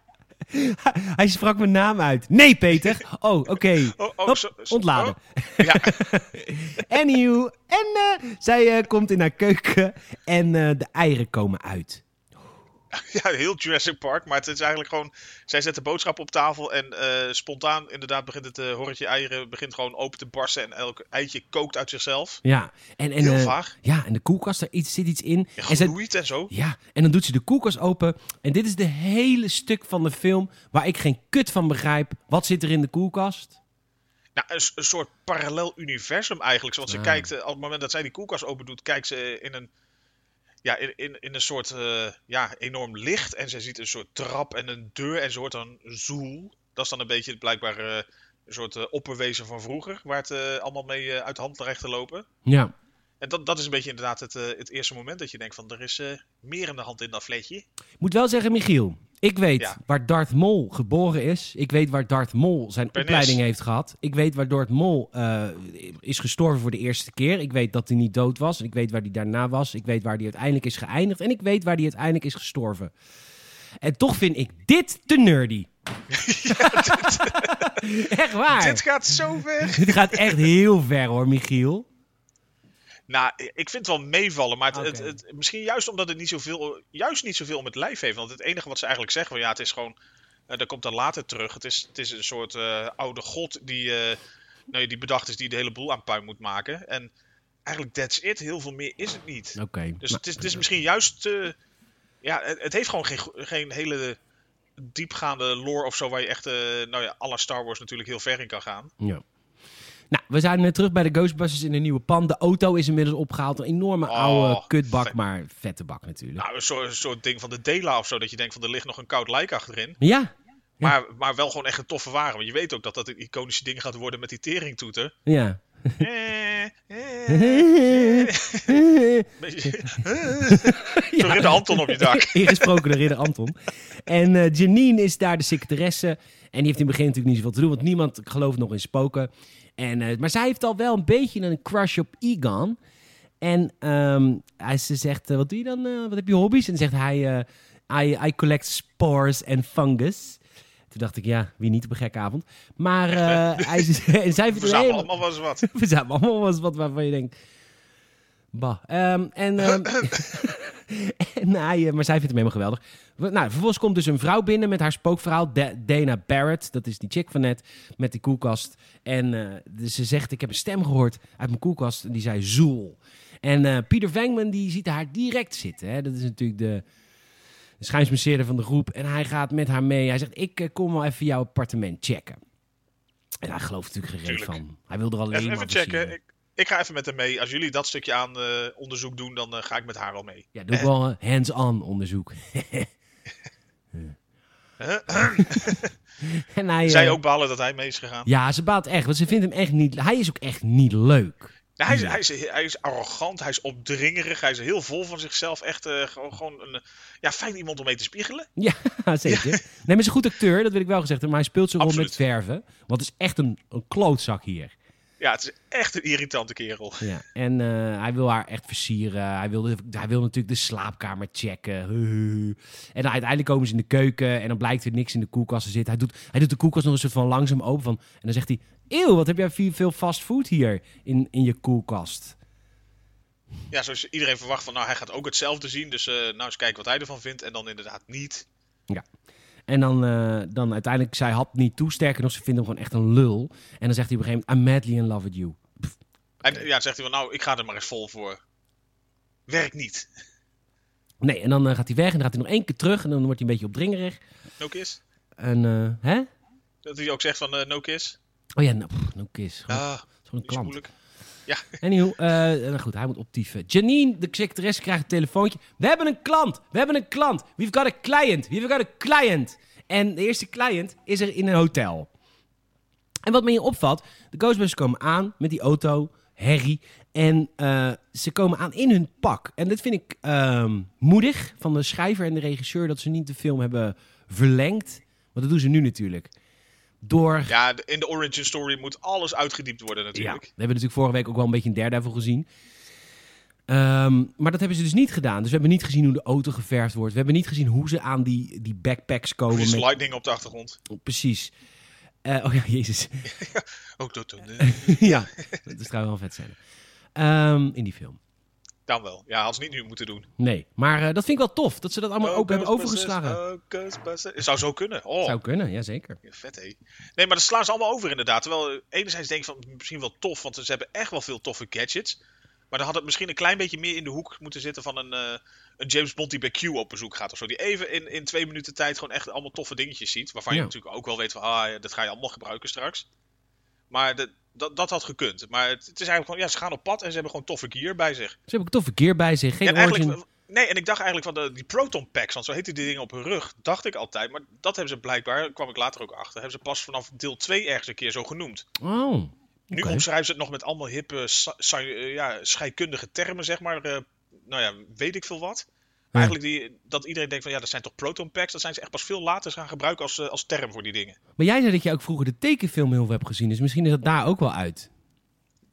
S1: Hij sprak mijn naam uit. Nee, Peter. Oh, oké.
S2: Oh, oh,
S1: Hop,
S2: zo- zo-
S1: ontladen.
S2: oh. Ja,
S1: Anywho. En eh, zij eh, komt in haar keuken en eh, de eieren komen uit.
S2: ja, heel Jurassic Park. Maar het is eigenlijk gewoon... Zij zet de boodschap op tafel en eh, spontaan inderdaad begint het eh, horretje eieren begint gewoon open te barsten. En elk eitje kookt uit zichzelf.
S1: Ja. En, en,
S2: Heel
S1: eh,
S2: vaag.
S1: Ja, en de koelkast, daar iets, zit iets in. En zij,
S2: Gloeit en zo.
S1: ja, en dan doet ze de koelkast open. En dit is de hele stuk van de film waar ik geen kut van begrijp. Wat zit er in de koelkast?
S2: Nou, een, s- een soort parallel universum eigenlijk. Want ze
S1: Ah.
S2: kijkt, eh, op het moment dat zij die koelkast open doet, kijkt ze eh, in een, ja, in, in, in een soort eh, ja, enorm licht. En ze ziet een soort trap en een deur en ze hoort dan zoel. Dat is dan een beetje blijkbaar eh, een soort eh, opperwezen van vroeger, waar het eh, allemaal mee eh, uit de hand terecht te lopen.
S1: Ja.
S2: En dat, dat is een beetje inderdaad het, eh, het eerste moment dat je denkt van, er is eh, meer in de hand in dat vleetje.
S1: Ik moet wel zeggen, Michiel. Ik weet
S2: Ja.
S1: waar Darth Mol geboren is. Ik weet waar Darth Mol zijn
S2: Pernis.
S1: opleiding heeft gehad. Ik weet waar Darth Mol eh, is gestorven voor de eerste keer. Ik weet dat hij niet dood was. En ik weet waar hij daarna was. Ik weet waar hij uiteindelijk is geëindigd. En ik weet waar hij uiteindelijk is gestorven. En toch vind ik dit te nerdy. echt waar.
S2: Dit gaat zo ver!
S1: Dit gaat echt heel ver hoor, Michiel.
S2: Nou, ik vind het wel meevallen, maar het, het-
S1: Oké.
S2: het- misschien juist omdat het niet zoveel, juist niet zoveel om het lijf heeft. Want het enige wat ze eigenlijk zeggen, van, ja, het is gewoon, eh dat komt dan later terug. Het is, het is een soort eh, oude god die, eh, nou ja, die bedacht is die de hele boel aan puin moet maken. En eigenlijk that's it, heel veel meer is het niet.
S1: Oké.
S2: Dus
S1: nou,
S2: het, is, het is misschien juist, eh, ja, het, het heeft gewoon geen, go- geen hele diepgaande lore of zo waar je echt, eh, nou ja, à la Star Wars natuurlijk heel ver in kan gaan.
S1: ja. Nou, we zijn weer terug bij de Ghostbusters in een nieuwe pan. De auto is inmiddels opgehaald. Een enorme
S2: Oh,
S1: oude kutbak,
S2: vet.
S1: maar vette bak natuurlijk.
S2: Nou, een soort, een soort ding van de Dela of zo. Dat je denkt van er ligt nog een koud lijk achterin.
S1: Ja,
S2: Maar, maar wel gewoon echt een toffe wagen. Want je weet ook dat dat een iconische ding gaat worden met die teringtoeter.
S1: ja.
S2: Eh, eh,
S1: ja.
S2: beetje- Zo'n ridder Anton op je dak.
S1: Ingesproken door ridder Anton. En eh, Janine is daar de secretaresse. En die heeft in het begin natuurlijk niet zoveel te doen, want niemand gelooft nog in spoken. En, eh, maar zij heeft al wel een beetje een crush op Egon. En ehm, hij, ze zegt, eh, wat doe je dan? eh, wat heb je hobby's? En zegt hij, eh, I, I collect spores and fungus. Toen dacht ik, ja, wie niet op een gekke avond. Maar eh, hij, en zij vindt het
S2: Verzamel
S1: helemaal...
S2: allemaal wel eens wat.
S1: We zijn allemaal wat, wat waarvan je denkt. Bah. Ehm, en, ehm, en hij, eh, maar zij vindt hem helemaal geweldig. We- Nou, vervolgens komt dus een vrouw binnen met haar spookverhaal. Da- Dana Barrett, dat is die chick van net, met die koelkast. En eh, dus ze zegt, ik heb een stem gehoord uit mijn koelkast. En die zei, zoel. En eh, Pieter Vengman, die ziet haar direct zitten. Hè? Dat is natuurlijk de, de schijnsmasseerder van de groep. En hij gaat met haar mee. Hij zegt, ik eh, kom wel even jouw appartement checken. En hij gelooft natuurlijk gereed
S2: Tuurlijk.
S1: van. Hij wil er alleen
S2: Even,
S1: maar
S2: even
S1: plezier
S2: checken.
S1: in.
S2: Ik, ik ga even met hem mee. Als jullie dat stukje aan eh, onderzoek doen, dan eh, ga ik met haar al mee.
S1: Ja, doe ik wel eh, hands-on onderzoek. en hij, eh,
S2: Zij ook balen dat hij mee is gegaan.
S1: Ja, ze baalt echt, want ze vindt hem echt niet... Hij is ook echt niet leuk.
S2: Nou, hij, is, hij, is, hij is arrogant, hij is opdringerig, hij is heel vol van zichzelf. Echt eh, gewoon, gewoon een eh, ja, fijn iemand om mee te spiegelen.
S1: Ja, zeker. Nee, maar hij is een goed acteur, dat wil ik wel gezegd hebben. Maar hij speelt zijn rol met
S2: Absoluut.
S1: verven. Want het is echt een, een klootzak hier.
S2: Ja, het is echt een irritante kerel.
S1: Ja. En eh, hij wil haar echt versieren. Hij wil, de- hij wil natuurlijk de slaapkamer checken. Huhuhu. En dan uiteindelijk komen ze in de keuken en dan blijkt er niks in de koelkast te zitten. Hij doet, hij doet de koelkast nog eens soort van langzaam open. Van, en dan zegt hij, eeuw, wat heb jij veel- veel fastfood hier in, in je koelkast?
S2: Ja, zoals iedereen verwacht van, nou, hij gaat ook hetzelfde zien. Dus eh, nou eens kijken wat hij ervan vindt. En dan inderdaad niet.
S1: En dan, eh, dan uiteindelijk, zij had niet toe. Sterker nog, ze vindt hem gewoon echt een lul. En dan zegt hij op een gegeven moment, I'm madly in love with you.
S2: Hij, ja, dan zegt hij van, nou, ik ga er maar eens vol voor. Werkt niet.
S1: Nee, en dan eh, gaat hij weg en dan gaat hij nog één keer terug. En dan wordt hij een beetje opdringerig.
S2: No kiss.
S1: En, eh, hè?
S2: Dat hij ook zegt van, eh, no kiss.
S1: Oh ja, nou, pff, no kiss. Gewoon,
S2: Ah,
S1: het is gewoon een
S2: die is
S1: klant.
S2: moeilijk.
S1: Anyhow, eh, nou goed, hij moet optieven. Janine, de secretaresse, krijgt een telefoontje. We hebben een klant, we hebben een klant. We've got a client, we've got a client. En de eerste client is er in een hotel. En wat me hier opvalt, de Ghostbusters komen aan met die auto, Harry. En eh, ze komen aan in hun pak. En dat vind ik ehm, moedig van de schrijver en de regisseur... dat ze niet de film hebben verlengd. Want dat doen ze nu natuurlijk. Door
S2: Ja, de- in de origin story moet alles uitgediept worden
S1: ja,
S2: natuurlijk.
S1: we hebben natuurlijk vorige week ook wel een beetje een Daredevil gezien. Ehm, maar dat hebben ze dus niet gedaan. Dus we hebben niet gezien hoe de auto geverfd wordt. We hebben niet gezien hoe ze aan die, die backpacks
S2: Er
S1: komen.
S2: is
S1: met-
S2: lightning op de achtergrond.
S1: Precies. Eh, oh ja, jezus.
S2: Ook dat doen.
S1: ja, dat is trouwens wel een vet zijn. in die film.
S2: Dan wel. Ja, had ze niet nu moeten doen.
S1: Nee, maar eh, dat vind ik wel tof. Dat ze dat allemaal ook hebben
S2: Ghostbusters,
S1: overgeslagen.
S2: oh, Ghostbusters. Het zou zo kunnen. Oh,
S1: Zou kunnen, ja zeker.
S2: vet hé. Nee, maar dat slaan ze allemaal over inderdaad. Terwijl eh, enerzijds denk ik van misschien wel tof, want ze hebben echt wel veel toffe gadgets. Maar dan had het misschien een klein beetje meer in de hoek moeten zitten van een, eh, een James Bond die bij Q op bezoek gaat of zo. Die even in, in twee minuten tijd gewoon echt allemaal toffe dingetjes ziet. Waarvan
S1: Ja.
S2: je natuurlijk ook wel weet van, ah, ja, dat ga je allemaal gebruiken straks. Maar dat- dat, dat had gekund. Maar het, het is eigenlijk gewoon, ja, ze gaan op pad en ze hebben gewoon toffe gear bij zich.
S1: Ze hebben ook toffe gear bij zich. Geen
S2: En
S1: origin.
S2: eigenlijk, nee, en ik dacht eigenlijk van de, die proton packs, want zo heette die dingen op hun rug, dacht ik altijd. Maar dat hebben ze blijkbaar, daar kwam ik later ook achter, hebben ze pas vanaf deel 2 ergens een keer zo genoemd.
S1: Oh,
S2: Nu
S1: Oké.
S2: omschrijven ze het nog met allemaal hippe, sa- sa- eh, ja, scheikundige termen, zeg maar. eh, nou ja, weet ik veel wat. Maar
S1: Ja.
S2: eigenlijk die, dat iedereen denkt van ja, dat zijn toch proton packs? Dat zijn ze echt pas veel later gaan gebruiken als, eh, als term voor die dingen.
S1: maar jij zei dat je ook vroeger de tekenfilm heel veel hebt gezien. Dus misschien is dat daar ook wel uit.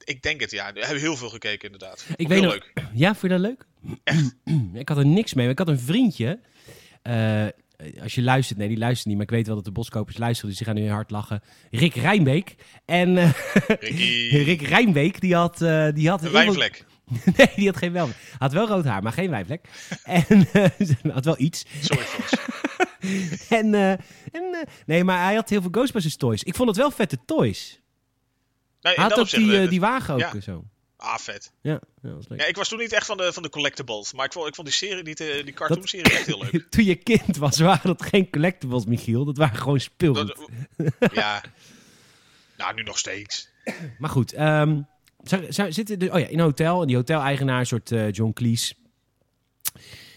S2: Ik denk het, ja. We hebben heel veel gekeken inderdaad. Vond
S1: Ik
S2: heel
S1: weet nog,
S2: leuk.
S1: Ja, vond je dat leuk? ik had er niks mee. maar Ik had een vriendje. eh, als je luistert, nee, die luistert niet. Maar ik weet wel dat de boskopers luisteren. Dus die gaan nu hard lachen. Rick Rijnbeek. En eh,
S2: Ricky,
S1: Rick Rijnbeek, die had. eh, die had
S2: een wijnvlek.
S1: Nee, die had geen wel. Had wel rood haar, maar geen wijnvlek. en eh, had wel iets.
S2: Sorry Frans.
S1: En, eh, en, eh, nee, maar hij had heel veel Ghostbusters toys. Ik vond het wel vette toys.
S2: Nee, in
S1: Hij had
S2: dat
S1: ook
S2: opzicht,
S1: die,
S2: eh,
S1: eh, die wagen ook
S2: ja.
S1: eh, zo.
S2: Ah, vet.
S1: Ja, dat was leuk.
S2: Ja, ik was toen niet echt van de, van de collectibles, maar ik vond, ik vond die serie, die, te- die cartoonserie echt heel leuk.
S1: Toen je kind was, waren dat geen collectibles, Michiel. Dat waren gewoon speelgoed.
S2: Dat- ja. eh, Nou, nu nog steeds.
S1: Maar goed, ehm, zou- zou- zitten de, oh ja, in een hotel. En die hoteleigenaar, een soort eh, John Cleese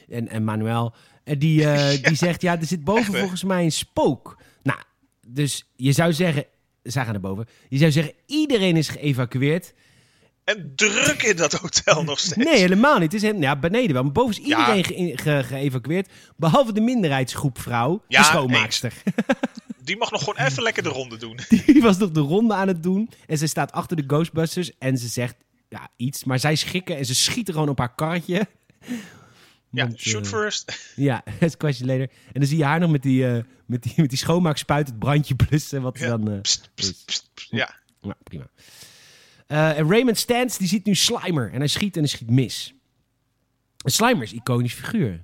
S1: en, en Manuel. En die, eh, die zegt, ja, er zit boven
S2: Echt, hè?
S1: volgens mij een spook. Nou, dus je zou zeggen... Zij gaan naar boven. Je zou zeggen, iedereen is geëvacueerd.
S2: En druk in dat hotel nog steeds.
S1: Nee, helemaal niet. Het is helemaal, ja, beneden wel. Maar boven is
S2: Ja.
S1: iedereen ge- ge- geëvacueerd. Behalve de minderheidsgroep vrouw,
S2: Ja,
S1: de schoonmaakster.
S2: Die mag nog gewoon even lekker de ronde doen.
S1: Die was nog de ronde aan het doen. En ze staat achter de Ghostbusters en ze zegt ja, iets. Maar zij schrikken en ze schieten gewoon op haar karretje.
S2: Ja,
S1: Want,
S2: shoot
S1: eh,
S2: first.
S1: Ja, het kwastje later. En dan zie je haar nog met die, eh, met die, met die schoonmaakspuit het brandje blussen. Wat ze
S2: Ja.
S1: dan... eh,
S2: Pst, pst, pst, pst. Ja,
S1: nou, prima. Eh, en Raymond Stans, die ziet nu Slimer. En hij schiet en hij schiet mis. En Slimer is een iconisch figuur.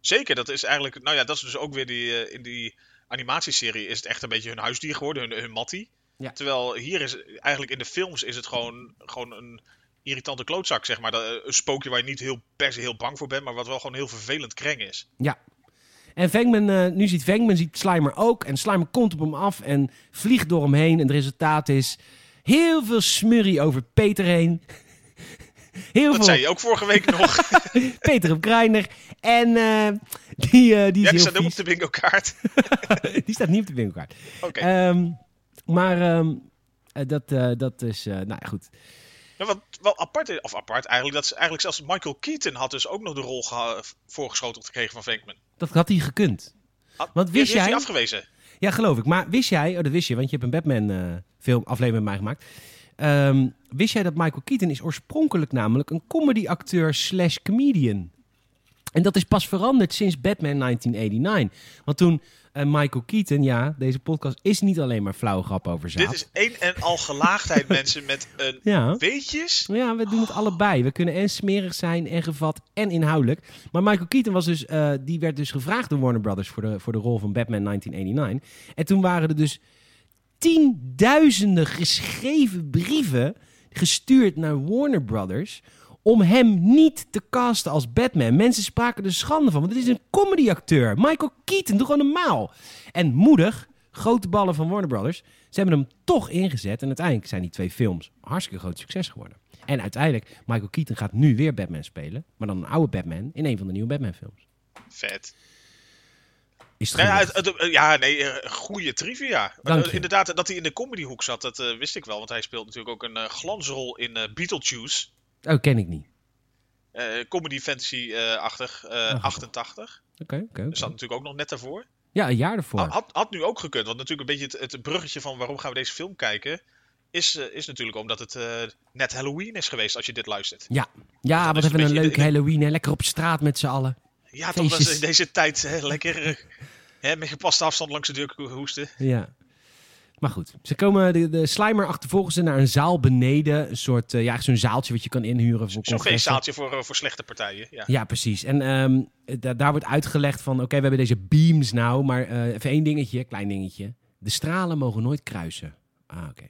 S2: zeker. Dat is eigenlijk. Nou ja, dat is dus ook weer die. eh, in die animatieserie is het echt een beetje hun huisdier geworden, hun, hun mattie.
S1: Ja.
S2: Terwijl hier is eigenlijk in de films is het gewoon, gewoon een irritante klootzak, zeg maar. Dat, eh, Een spookje waar je niet heel, per se heel bang voor bent, maar wat wel gewoon heel vervelend kreng is.
S1: Ja. En Venkman, eh, nu ziet Venkman, ziet Slimer ook. En Slimer komt op hem af en vliegt door hem heen. En het resultaat is heel veel smurrie over Peter heen. Heel
S2: Dat
S1: veel
S2: zei je ook vorige week nog.
S1: Peter op Kreiner. En eh, die, eh, die is
S2: Ja, die
S1: heel
S2: staat ook op
S1: vies.
S2: de bingo kaart.
S1: die staat niet op de winkelkaart.
S2: Oké.
S1: Ehm, maar ehm, eh, dat, eh, dat is... eh, nou ja, goed.
S2: Ja, Nou, wat wel apart is, of apart eigenlijk, dat ze eigenlijk zelfs Michael Keaton had dus ook nog de rol geha- voorgeschoteld gekregen van Venkman.
S1: Dat had hij gekund.
S2: Had-
S1: Want wist
S2: Ja, die heeft
S1: jij-
S2: hij afgewezen.
S1: Ja, geloof ik. Maar wist jij, oh, dat wist je, want je hebt een Batman eh, film aflevering met mij gemaakt. Ehm, wist jij dat Michael Keaton is oorspronkelijk namelijk een comedyacteur slash comedian? En dat is pas veranderd sinds Batman 1989. Want toen eh, Michael Keaton, ja, deze podcast is niet alleen maar flauwe grap over zaad.
S2: Dit is één en al gelaagdheid, mensen, met een
S1: Ja.
S2: weetjes.
S1: Ja, we doen het allebei. We kunnen en smerig zijn en gevat en inhoudelijk. Maar Michael Keaton was dus, eh, die werd dus gevraagd door Warner Brothers voor de, voor de rol van Batman 1989. En toen waren er dus tienduizenden geschreven brieven gestuurd naar Warner Brothers om hem niet te casten als Batman. Mensen spraken er schande van, want het is een comedyacteur. Michael Keaton, doe gewoon normaal. En moedig, grote ballen van Warner Brothers, ze hebben hem toch ingezet. En uiteindelijk zijn die twee films hartstikke groot succes geworden. En uiteindelijk, Michael Keaton gaat nu weer Batman spelen, maar dan een oude Batman in een van de nieuwe Batman films.
S2: Vet.
S1: Is het
S2: Nou ja,
S1: gelukt?
S2: het- het- eh, ja, nee, eh, goede trivia. Maar,
S1: Dank
S2: eh,
S1: je.
S2: inderdaad, dat hij in de comedyhoek zat, dat eh, wist ik wel. Want hij speelt natuurlijk ook een eh, glansrol in eh, Beetlejuice.
S1: Oh, ken ik niet.
S2: Eh, comedy eh, fantasy-achtig,
S1: Ah.
S2: 88.
S1: Oké, oké. oké.
S2: Dus Dat Oh. zat natuurlijk ook nog net daarvoor.
S1: Ja, een jaar ervoor.
S2: Had, had- had nu ook gekund. Want natuurlijk een beetje het, het bruggetje van waarom gaan we deze film kijken... is, eh, is natuurlijk omdat het eh, net Halloween is geweest als je dit luistert.
S1: Ja, ja
S2: dat
S1: wat hebben
S2: is
S1: we
S2: een
S1: een
S2: beetje
S1: leuk
S2: de- de-
S1: Halloween. Hè? Lekker op straat met z'n allen.
S2: Ja, toch dat ze
S1: Feestjes.
S2: in deze tijd eh, lekker eh, hè, met gepaste afstand langs de deur ko- hoesten.
S1: Ja. Maar goed, ze komen de, de slimer achtervolgen ze naar een zaal beneden. Een soort, eh, ja, echt zo'n zaaltje wat je kan inhuren voor
S2: Zo'n
S1: congressen.
S2: feestzaaltje voor, eh, voor slechte partijen. Ja.
S1: Ja, precies. En ehm, da- daar wordt uitgelegd van, oké, we hebben deze beams nou, maar eh, even één dingetje, klein dingetje. De stralen mogen nooit kruisen. Ah, oké.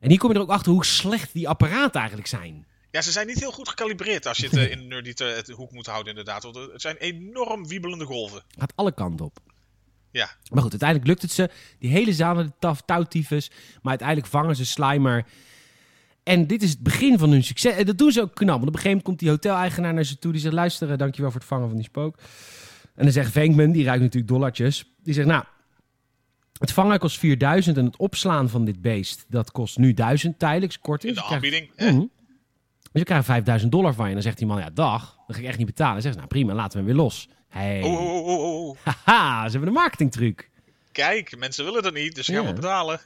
S1: En hier kom je er ook achter hoe slecht die apparaten eigenlijk zijn.
S2: ja, ze zijn niet heel goed gekalibreerd als je het eh, in de nerdy te- het hoek moet houden inderdaad. Want het zijn enorm wiebelende golven.
S1: Gaat alle kanten op.
S2: Ja.
S1: Maar goed, uiteindelijk lukt het ze. Die hele zaal met de taf, touwtyfus. Maar uiteindelijk vangen ze Slimer. En dit is het begin van hun succes. En dat doen ze ook knap. Want op een gegeven moment komt die hoteleigenaar naar ze toe. Die zegt, luister, eh, dankjewel voor het vangen van die spook. En dan zegt Venkman, die ruikt natuurlijk dollartjes. Die zegt, nou, het vangen kost 4000. En het opslaan van dit beest, dat kost nu 1000 tijdelijks. Kort
S2: In de aanbieding. hè.
S1: Mhm. Dus je krijgt 5000 dollar van je. En dan zegt die man, ja, dag. Dat ga ik echt niet betalen. Dan zegt ze, nou prima, laten we hem weer los. Hey.
S2: Oh, oh, oh, oh, oh.
S1: Haha, ze hebben een marketingtruc.
S2: Kijk, mensen willen dat niet, dus ze gaan
S1: Ja.
S2: wel betalen.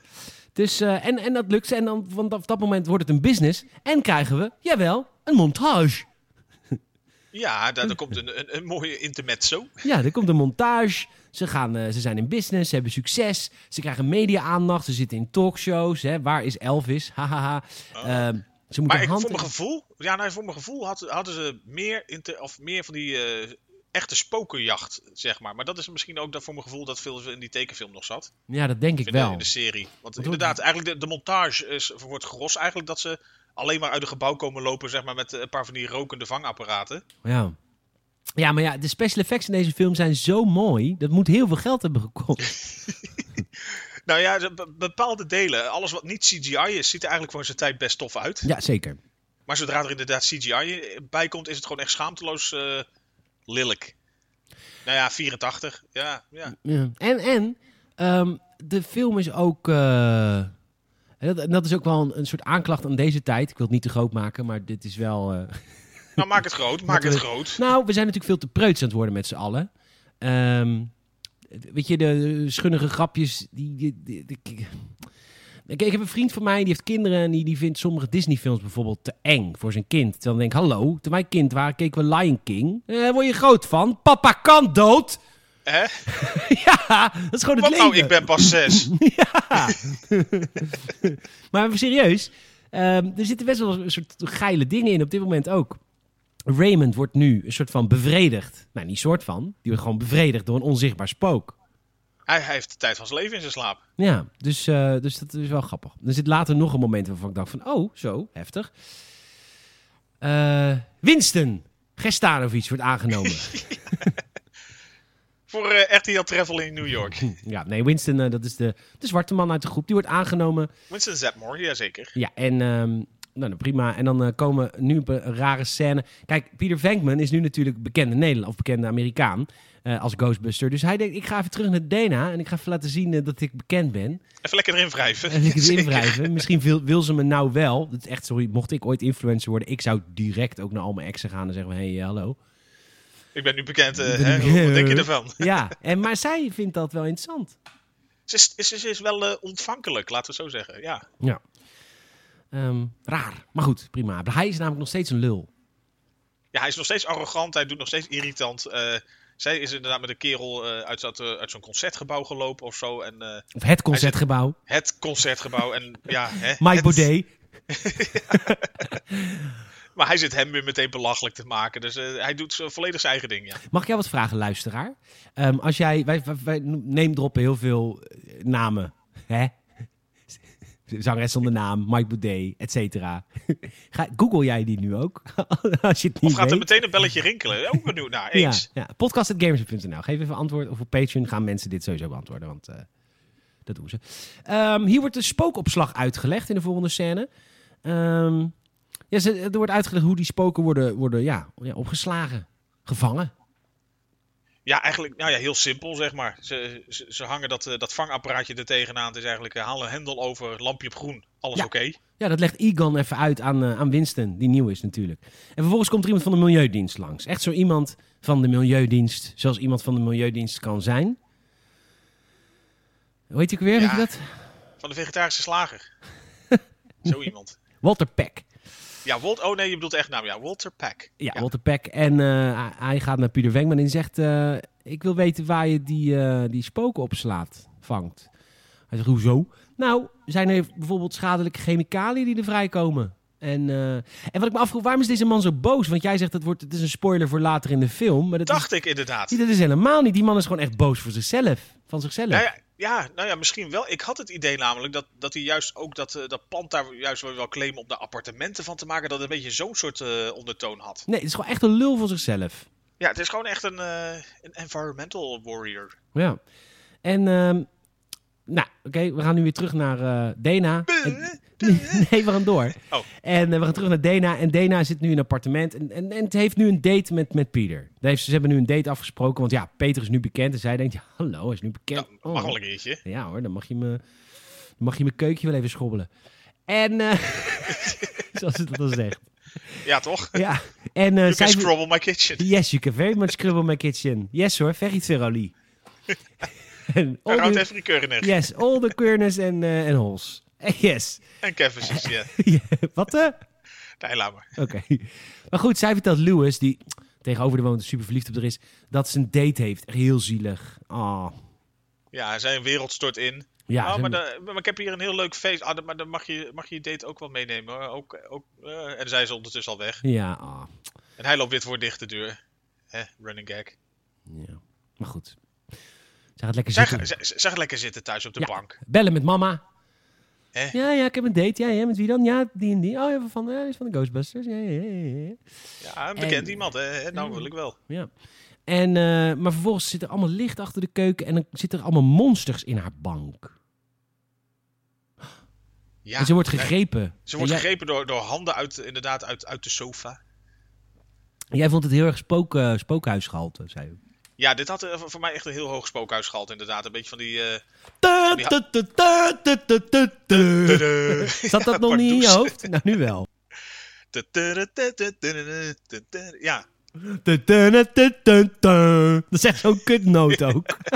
S1: Dus, eh, en, en dat lukt. ze. En dan, want op dat moment wordt het een business. En krijgen we, jawel, een montage.
S2: Ja, daar, daar komt een, een, een mooie intermezzo.
S1: Ja, er komt een montage. Ze, gaan, eh, ze zijn in business, ze hebben succes. Ze krijgen media-aandacht. Ze zitten in talkshows. Hè. Waar is Elvis? Hahaha. Ehm, ze moeten
S2: Oh. Maar ik,
S1: hand-
S2: voor mijn gevoel, ja, nou, voor mijn gevoel had, hadden ze meer, inter, of meer van die eh, echte spokenjacht, zeg maar. Maar dat is misschien ook dat voor mijn gevoel dat veel in die tekenfilm nog zat.
S1: Ja, dat denk ik
S2: In de,
S1: wel.
S2: in de serie. Want inderdaad, eigenlijk de, de montage is, wordt gros eigenlijk dat ze alleen maar uit een gebouw komen lopen, zeg maar, met eh, een paar van die rokende vangapparaten.
S1: Ja. ja, maar ja, de special effects in deze film zijn zo mooi. Dat moet heel veel geld hebben gekost.
S2: Nou ja, de be- bepaalde delen, alles wat niet CGI is, ziet er eigenlijk voor zijn tijd best tof uit.
S1: Ja, zeker.
S2: Maar zodra er inderdaad CGI bij komt, is het gewoon echt schaamteloos eh, lelijk. Nou ja, 84. Ja, ja.
S1: Ja. En, en ehm, de film is ook. eh, en dat, en dat is ook wel een, een soort aanklacht aan deze tijd. Ik wil het niet te groot maken, maar dit is wel. eh,
S2: Nou, maak het groot, maak het groot.
S1: Nou, we zijn natuurlijk veel te preuts aan het worden met z'n allen. Ehm, weet je, de schunnige grapjes. Die, die, die- die- ik- ik, ik heb een vriend van mij, die heeft kinderen... en die, die vindt sommige Disney-films bijvoorbeeld te eng voor zijn kind. Terwijl dan denk ik, hallo, toen wij kind waren keken we Lion King. Eh, word je groot van? Papa kan dood!
S2: Hè?
S1: ja, dat is gewoon het
S2: Wat
S1: leven.
S2: nou, ik ben pas 6.
S1: Ja. maar even serieus, ehm, er zitten best wel een soort geile dingen in op dit moment ook. Raymond wordt nu een soort van bevredigd. Nou, niet soort van. Die wordt gewoon bevredigd door een onzichtbaar spook.
S2: Hij, hij heeft de tijd van zijn leven in zijn slaap.
S1: Ja, dus, eh, dus dat is wel grappig. Er zit later nog een moment waarvan ik dacht van... Oh, zo, heftig. Eh Winston Gestanovic wordt aangenomen.
S2: Voor eh RTL Travel in New York.
S1: ja, nee, Winston, eh, dat is de, de zwarte man uit de groep. Die wordt aangenomen
S2: Winston Zedmore, jazeker.
S1: Ja, en ehm, nou, nou, prima. En dan eh, komen nu een paar rare scène. Kijk, Peter Venkman is nu natuurlijk bekende Nederland of bekende Amerikaan eh, als Ghostbuster. Dus hij denkt, ik ga even terug naar DNA en ik ga even laten zien eh, dat ik bekend ben.
S2: Even lekker erin wrijven.
S1: En ik het
S2: Zeker.
S1: invrijven. Misschien wil, wil ze me nou wel. Dat is echt, sorry, mocht ik ooit influencer worden, ik zou direct ook naar al mijn exen gaan en zeggen van, hé, hey, eh, hallo.
S2: Ik ben nu bekend. eh,
S1: Ik ben
S2: hè?
S1: nu-
S2: Hoe- Wat denk je ervan?
S1: Ja, en, maar zij vindt dat wel interessant.
S2: Ze is, ze is- ze is wel eh, ontvankelijk, laten we het zo zeggen. Ja.
S1: Ja. Ehm, raar, maar goed, prima. Hij is namelijk nog steeds een lul.
S2: ja, hij is nog steeds arrogant. Hij doet nog steeds irritant. Eh, zij is inderdaad met een kerel eh, uit, dat, eh, uit zo'n concertgebouw gelopen of zo. En, eh,
S1: Of het concertgebouw.
S2: het concertgebouw. En, ja, hè,
S1: Mike
S2: het-
S1: Baudet.
S2: Maar hij zit hem weer meteen belachelijk te maken. Dus eh, hij doet zo volledig zijn eigen ding. Ja.
S1: Mag ik jou wat vragen, luisteraar? Ehm, als jij, wij, wij, wij neem droppen heel veel eh, namen. Hè? Zangeres zonder naam, Mike Baudet, et cetera. Ga- Google jij die nu ook? als je het niet
S2: Of gaat er
S1: weet.
S2: meteen een belletje rinkelen? Ook benieuwd naar.
S1: ja,
S2: Eens.
S1: ja, podcast.gamers.nl. Geef even antwoord. Of op Patreon gaan mensen dit sowieso beantwoorden, want eh, dat doen ze. Ehm, hier wordt de spookopslag uitgelegd in de volgende scène. Ehm, ja, ze- er wordt uitgelegd hoe die spoken worden, worden ja, ja, opgeslagen, gevangen.
S2: Ja, eigenlijk nou ja, heel simpel zeg maar. Ze, ze, ze hangen dat, eh, dat vangapparaatje er tegenaan. Het is eigenlijk eh, haal een hendel over, lampje op groen. Alles
S1: Ja.
S2: oké.
S1: Ja, dat legt Egon even uit aan, eh, aan Winston, die nieuw is natuurlijk. En vervolgens komt er iemand van de Milieudienst langs. Echt zo iemand van de Milieudienst, zoals iemand van de Milieudienst kan zijn. Hoe heet ik weer? Weet
S2: Ja.
S1: je dat?
S2: Van de vegetarische slager. Zo iemand.
S1: Walter Peck.
S2: Ja, Walt. Oh nee, je bedoelt echt naam. Ja, Walter Pack.
S1: Ja, Walter Peck. En eh, hij gaat naar Pieter Wengman en zegt... eh, ik wil weten waar je die, eh, die spoken opslaat, vangt. Hij zegt, hoezo? Nou, zijn er bijvoorbeeld schadelijke chemicaliën die er vrijkomen? En, eh, en wat ik me afvroeg, waarom is deze man zo boos? Want jij zegt, het, wordt, het is een spoiler voor later in de film. Maar dat is
S2: Dacht ik inderdaad.
S1: Nee, dat is helemaal niet. Die man is gewoon echt boos voor zichzelf. Van zichzelf.
S2: Nou ja, ja, nou ja, misschien wel. Ik had het idee namelijk dat, dat hij juist ook dat, eh, dat pand daar juist wel wel claimen om de appartementen van te maken. Dat het een beetje zo'n soort eh, ondertoon had.
S1: Nee, het is gewoon echt een lul voor zichzelf.
S2: Ja, het is gewoon echt een, eh, een environmental warrior.
S1: Ja. En, ehm, nou, oké, we gaan nu weer terug naar eh Dena. En- nee, we gaan door.
S2: Oh.
S1: En eh, we gaan terug naar Dena. En Dena zit nu in een appartement. En, en, en het heeft nu een date met, met Pieter. Daar heeft- Ze hebben nu een date afgesproken. Want ja, Peter is nu bekend. En zij denkt, ja, hallo, hij is nu bekend.
S2: Nou, mag
S1: Oh.
S2: wel een keertje.
S1: Ja hoor, dan mag je me, dan mag je mijn keukje wel even schobbelen. En, eh, zoals het dat al zegt.
S2: Ja, toch?
S1: Ja. En, eh,
S2: You can
S1: zij,
S2: scrubble my kitchen.
S1: Yes, you can very much scribble my kitchen. Yes hoor, very thoroughly. En all
S2: Round
S1: the-
S2: every Keurinig.
S1: yes, all the queerness en eh, en holes. Yes.
S2: En Kevin's, ja.
S1: Wat eh?
S2: Nee, laat maar.
S1: Oké. Maar goed, zij vertelt Lewis, die tegenover de woont super verliefd op haar is, dat ze een date heeft. Echt heel zielig. Ah.
S2: Ja, zijn wereld stort in.
S1: Ja,
S2: oh,
S1: ze-
S2: maar, da- maar ik heb hier een heel leuk feest. Ah, da- maar dan mag je, mag je je date ook wel meenemen. hoor. Ook, ook, eh, en zij is ondertussen al weg.
S1: ja, ah.
S2: En hij loopt weer voor dichte deur. Hè, running gag.
S1: ja. Maar goed. Zij gaat lekker
S2: Zeg,
S1: zitten.
S2: zeg, zeg lekker zitten thuis op de
S1: Ja.
S2: bank.
S1: Bellen met mama.
S2: Hè?
S1: Ja, ja, ik heb een date. Ja, ja, met wie dan? Ja, die en die. Oh, ja, van, ja, die is van de Ghostbusters. Ja, ja, ja, ja.
S2: Ja, een bekend
S1: En-
S2: iemand, hè? Nou wil ik wel.
S1: Ja. En, eh, maar vervolgens zit er allemaal licht achter de keuken en dan zitten er allemaal monsters in haar bank.
S2: Ja,
S1: en ze wordt
S2: nee,
S1: gegrepen.
S2: ze wordt
S1: En jij,
S2: gegrepen door, door handen uit, inderdaad, uit, uit de sofa.
S1: jij vond het heel erg spook, eh, spookhuisgehalte, zei je.
S2: Ja, dit had eh, voor voor mij echt een heel hoog spookhuis gehaald, inderdaad. Een beetje van die... eh,
S1: Tu,
S2: die
S1: tu, tu, tu, tu, tu, tu, tu.
S2: tudu.
S1: Zat dat nog niet in je
S2: Pardoes.
S1: hoofd? Nou, nu wel.
S2: Tudu, tudu, tudu, tudu, tudu. Ja,
S1: Tu, tu, tu, tu, tu, tu. Dat is echt zo'n kutnoot ook.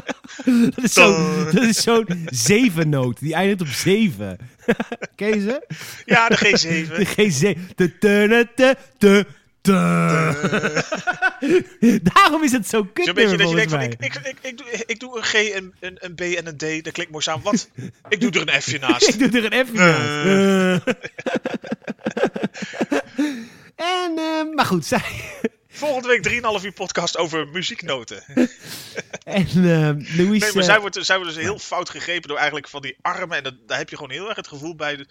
S1: dat is zo'n dat is zo'n zevennoot. Die eindigt op zeven. Ken je ze?
S2: ja de G7.
S1: De G7. Tu, tu, tu, tu, tu, tu. Daarom is het zo'n
S2: Zo'n
S1: kut
S2: beetje dat je
S1: volgens
S2: denkt van,
S1: mij.
S2: ik, ik, ik, ik, doe, ik doe een G, een, een, een B en een D. Dat klinkt mooi samen. Wat? Ik doe er een F'je naast.
S1: Ik doe er een F naast. Eh. en, eh, maar goed, zij.
S2: Volgende week 3,5 uur podcast over muzieknoten.
S1: En ehm Louise.
S2: Nee, maar
S1: eh,
S2: zij wordt, zij wordt dus heel fout gegrepen door eigenlijk van die armen. En dat, daar heb je gewoon heel erg het gevoel bij. de-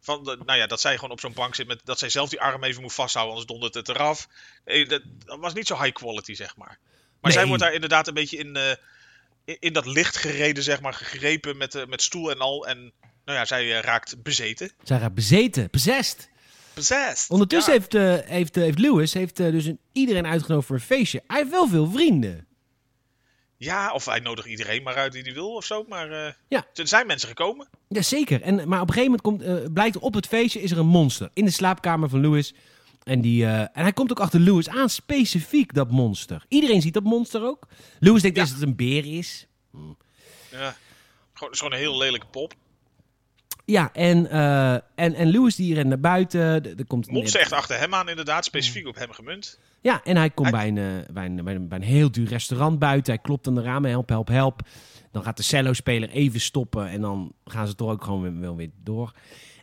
S2: Van, de- nou ja, dat zij gewoon op zo'n bank zit. Met, dat zij zelf die arm even moet vasthouden, anders dondert het eraf. Eh, dat, dat was niet zo high quality, zeg maar. Maar zij
S1: Nee.
S2: wordt daar inderdaad een beetje in, eh, in, in dat licht gereden, zeg maar. Gegrepen met, eh, met stoel en al. En nou ja, zij eh, raakt bezeten.
S1: zij raakt bezeten, possessed.
S2: Possessed.
S1: Ondertussen
S2: Ja.
S1: heeft, eh, heeft, eh, heeft Lewis heeft, eh, dus een, iedereen uitgenodigd voor een feestje. Hij heeft wel veel vrienden.
S2: Ja, of hij nodigt iedereen maar uit die hij wil of zo. Maar eh,
S1: Ja.
S2: er zijn mensen gekomen.
S1: Jazeker. En, maar op een gegeven moment komt, eh, blijkt op het feestje is er een monster in de slaapkamer van Lewis. En, die, eh, en hij komt ook achter Lewis aan, specifiek dat monster. Iedereen ziet dat monster ook. Lewis denkt
S2: Ja.
S1: eerst dat het een beer is.
S2: Ja. Gewoon, het is gewoon een heel lelijke pop.
S1: Ja, en, eh, en, en Lewis die rent naar buiten. Er er komt
S2: Mond ze echt achter hem aan, inderdaad. Specifiek
S1: Mm.
S2: op hem gemunt.
S1: Ja, en hij komt Bij, een, eh, bij, een, bij, een, bij een heel duur restaurant buiten. Hij klopt aan de ramen, help, help, help. Dan gaat de cello-speler even stoppen en dan gaan ze toch ook gewoon weer, wel weer door.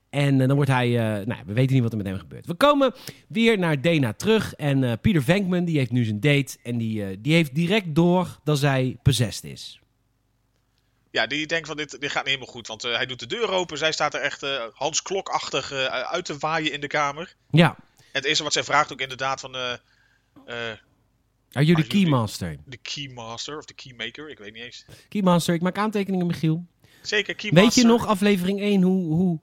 S1: En eh, dan wordt hij, eh, nou, we weten niet wat er met hem gebeurt. We komen weer naar Dana terug en eh, Pieter Venkman, die heeft nu zijn date. En die, eh, die heeft direct door dat zij possessed is.
S2: Ja, die denkt van dit, dit gaat niet helemaal goed. Want eh, hij doet de deur open. Zij staat er echt eh, Hans Klokachtig eh, uit te waaien in de kamer.
S1: Ja,
S2: En het eerste wat zij vraagt ook inderdaad van eh, eh,
S1: are you
S2: Are
S1: the
S2: you the-
S1: Ah, keymaster?
S2: de keymaster of de keymaker. Ik weet niet eens.
S1: Keymaster, ik maak aantekeningen, Michiel.
S2: Zeker keymaster.
S1: Weet je nog, aflevering 1, hoe, hoe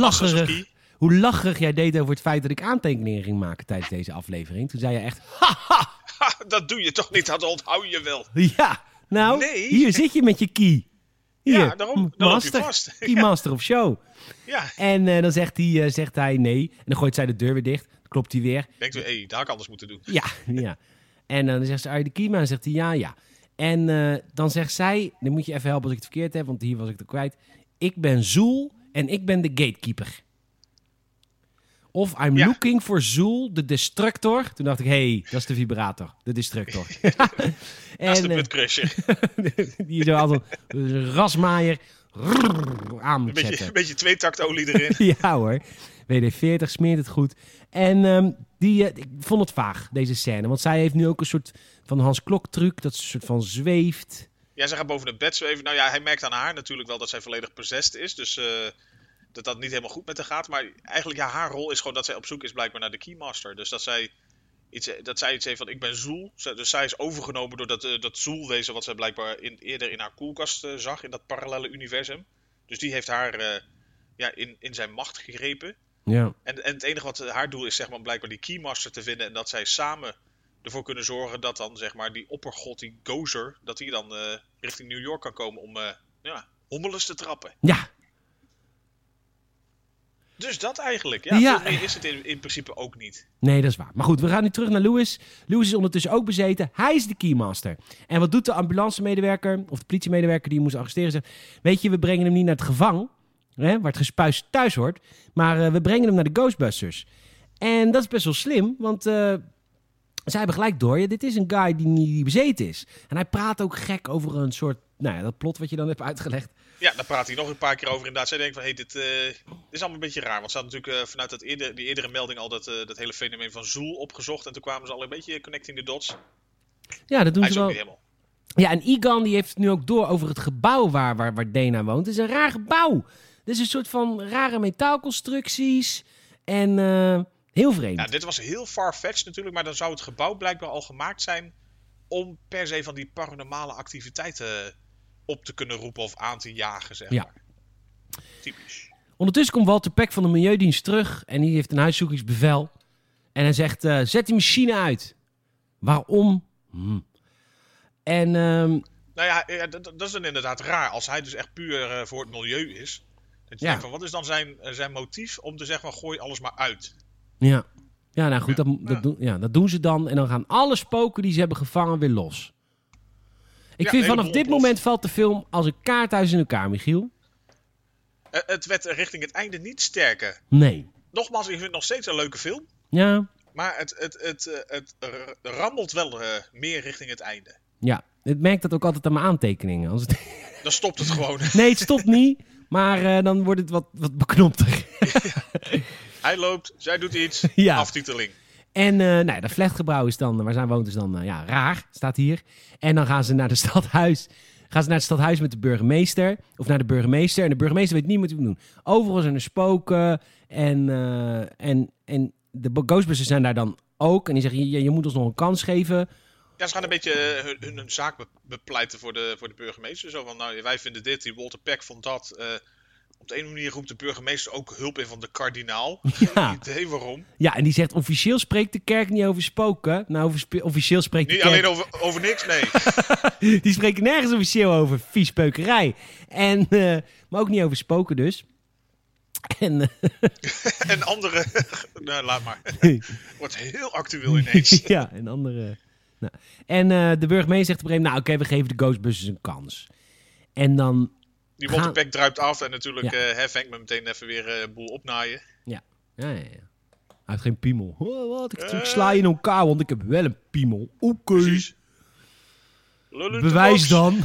S2: Masters of
S1: lacherig
S2: key.
S1: hoe lacherig jij deed over het feit dat ik aantekeningen ging maken tijdens deze aflevering. Toen zei je echt, haha,
S2: Ha, dat doe je toch niet? Dat onthoud je wel.
S1: ja, nou,
S2: Nee.
S1: hier zit je met je key. Hier,
S2: Ja, daarom-
S1: m-
S2: dan loop je
S1: master,
S2: vast.
S1: Key master of show.
S2: Ja.
S1: En eh, dan zegt hij, eh, zegt hij nee. En dan gooit zij de deur weer dicht. Dan klopt hij weer.
S2: Denkt u, hé, daar had ik anders moeten doen.
S1: Ja, ja. En eh, dan zegt ze, are you the key man? En zegt hij, ja, ja. En eh, dan zegt zij, dan moet je even helpen als ik het verkeerd heb, want hier was ik het kwijt. Ik ben Zoel en ik ben de gatekeeper. Of I'm
S2: Ja.
S1: looking for Zoel, de destructor. Toen dacht ik, hey, dat is de vibrator, de destructor.
S2: Dat is de
S1: eh,
S2: putcrusher.
S1: die zo altijd een rasmaaier rrrr, aan
S2: Een
S1: moet
S2: beetje,
S1: zetten.
S2: een beetje tweetaktolie erin.
S1: Ja hoor. WD-40 smeert het goed. En ehm, die, eh, ik vond het vaag, deze scène. Want zij heeft nu ook een soort van Hans Klok truc. Dat ze een soort van zweeft.
S2: Ja, ze gaat boven het bed zweven. Nou ja, hij merkt aan haar natuurlijk wel dat zij volledig possessed is. Dus eh, dat dat niet helemaal goed met haar gaat. Maar eigenlijk, ja, haar rol is gewoon dat zij op zoek is blijkbaar naar de Keymaster. Dus dat zij iets, dat zij iets heeft van, ik ben Zoel. Zij- Dus zij is overgenomen door dat, eh, dat Zoelwezen wat zij blijkbaar in, eerder in haar koelkast eh, zag. In dat parallele universum. Dus die heeft haar eh, ja, in, in zijn macht gegrepen.
S1: Ja.
S2: En, en het enige wat eh, haar doel is, zeg maar, om blijkbaar die Keymaster te vinden. En dat zij samen ervoor kunnen zorgen dat dan, zeg maar, die oppergod, die Gozer, dat die dan eh, richting New York kan komen om, eh ja, hommeles te trappen.
S1: Ja.
S2: Dus dat eigenlijk, ja.
S1: Ja.
S2: Veel meer is het in, in principe ook niet.
S1: Nee, dat is waar. Maar goed, we gaan nu terug naar Louis. Louis is ondertussen ook bezeten. Hij is de keymaster. En wat doet de ambulancemedewerker of de politiemedewerker die hem moest arresteren? Zegt, weet je, we brengen hem niet naar het gevang, hè, waar het gespuis thuis hoort. Maar eh, we brengen hem naar de Ghostbusters. En dat is best wel slim, want eh, zij hebben gelijk door. Ja, dit is een guy die, niet- die bezeten is. En hij praat ook gek over een soort, nou ja, dat plot wat je dan hebt uitgelegd.
S2: Ja, daar praat hij nog een paar keer over inderdaad. Zij denkt van, hé, hey, dit eh, dit is allemaal een beetje raar. Want ze hadden natuurlijk eh, vanuit dat eerder, die eerdere melding al dat, eh, dat hele fenomeen van Zoel opgezocht. En toen kwamen ze al een beetje connecting the dots.
S1: Ja, dat doen
S2: Hij
S1: ze
S2: is
S1: wel.
S2: ook niet helemaal...
S1: Ja, en Igan die heeft het nu ook door over het gebouw waar, waar, waar Dana woont. Het is een raar gebouw. Het is een soort van rare metaalconstructies. En eh, heel vreemd.
S2: Ja, dit was heel far-fetched natuurlijk, maar dan zou het gebouw blijkbaar al gemaakt zijn om per se van die paranormale activiteiten op te kunnen roepen of aan te jagen, zeg
S1: Ja.
S2: maar. Typisch.
S1: Ondertussen komt Walter Peck van de Milieudienst terug en die heeft een huiszoekingsbevel. En hij zegt, eh, zet die machine uit. Waarom? Hm. En ehm,
S2: Nou ja, ja, dat, dat is dan inderdaad raar. Als hij dus echt puur eh, voor het milieu is. Dat je
S1: Ja.
S2: denkt van, wat is dan zijn, eh, zijn motief om te zeggen van gooi alles maar uit?
S1: ja. ja, nou goed,
S2: Ja.
S1: dat, dat,
S2: Ja.
S1: Doen, ja, dat doen ze dan. En dan gaan alle spoken die ze hebben gevangen weer los. Ik
S2: Ja,
S1: vind
S2: helemaal
S1: vanaf dit
S2: ontploft.
S1: moment valt de film als een kaarthuis in elkaar, Michiel.
S2: Eh, het werd richting het einde niet sterker.
S1: Nee.
S2: Nogmaals, ik vind het nog steeds een leuke film.
S1: Ja,
S2: Maar het, het, het, eh, het r- rammelt wel eh, meer richting het einde.
S1: ja. Ik merk dat ook altijd aan mijn aantekeningen. Als het...
S2: Dan stopt het gewoon.
S1: Nee, het stopt niet. Maar eh, dan wordt het wat, wat beknopter.
S2: hij loopt, zij doet iets.
S1: Ja.
S2: Aftiteling.
S1: En eh nou, ja, dat flatgebouw is dan, waar zij woont, is dan eh, ja, raar, staat hier. En dan gaan ze naar de stadhuis. Gaan ze naar het stadhuis met de burgemeester. Of naar de burgemeester. En de burgemeester weet niet wat hij moet doen. Overal zijn er spoken. En, eh, en, en de bo- Ghostbusters zijn daar dan ook. En die zeggen, je, je moet ons nog een kans geven.
S2: Ja, ze gaan een beetje eh, hun, hun, hun zaak be- bepleiten voor de, voor de burgemeester. Zo van, nou, wij vinden dit, die Walter Peck vond dat. eh, op de ene manier roept de burgemeester ook hulp in van de kardinaal.
S1: Ja.
S2: Geen idee waarom.
S1: Ja, en die zegt, officieel spreekt de kerk niet over spoken. Nou, over spe- officieel spreekt de
S2: Niet
S1: kerk...
S2: alleen over, over niks, nee.
S1: Die spreken nergens officieel over viespeukerij. En, eh, maar ook niet over spoken dus. En... eh,
S2: en andere... nou, laat maar. Wordt heel actueel ineens.
S1: ja, en andere. Nou. En eh, de burgemeester zegt op een gegeven moment: Nou, oké, we geven de Ghostbusters een kans. En dan,
S2: Die Walter
S1: Gaan-
S2: Peck druipt af en natuurlijk
S1: Ja.
S2: eh hè, vangt me meteen even weer eh, een boel opnaaien.
S1: ja, ja, ja. Hij heeft geen piemel. Oh, wat? Ik, ik sla je in elkaar, want ik heb wel een piemel. Oké.
S2: Precies. Lul in de
S1: Bewijs
S2: box.
S1: dan.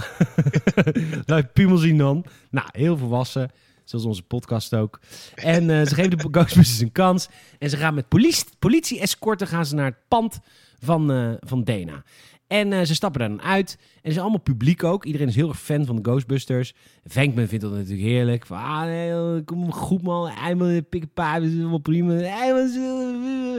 S1: Laat je piemel zien dan. Nou, heel volwassen. Zoals onze podcast ook. En eh, ze geven de Ghostbusters een kans. En ze gaan met politie- politie-escorten gaan ze naar het pand van, eh, van Dana. En eh, ze stappen daar dan uit. En ze is allemaal publiek ook. Iedereen is heel erg fan van de Ghostbusters. Venkman vindt dat natuurlijk heerlijk. Van, ah, nee, joh, kom goed man. Eimel, pikkenpaar, dat is helemaal prima. Eimel, is, eh, eh,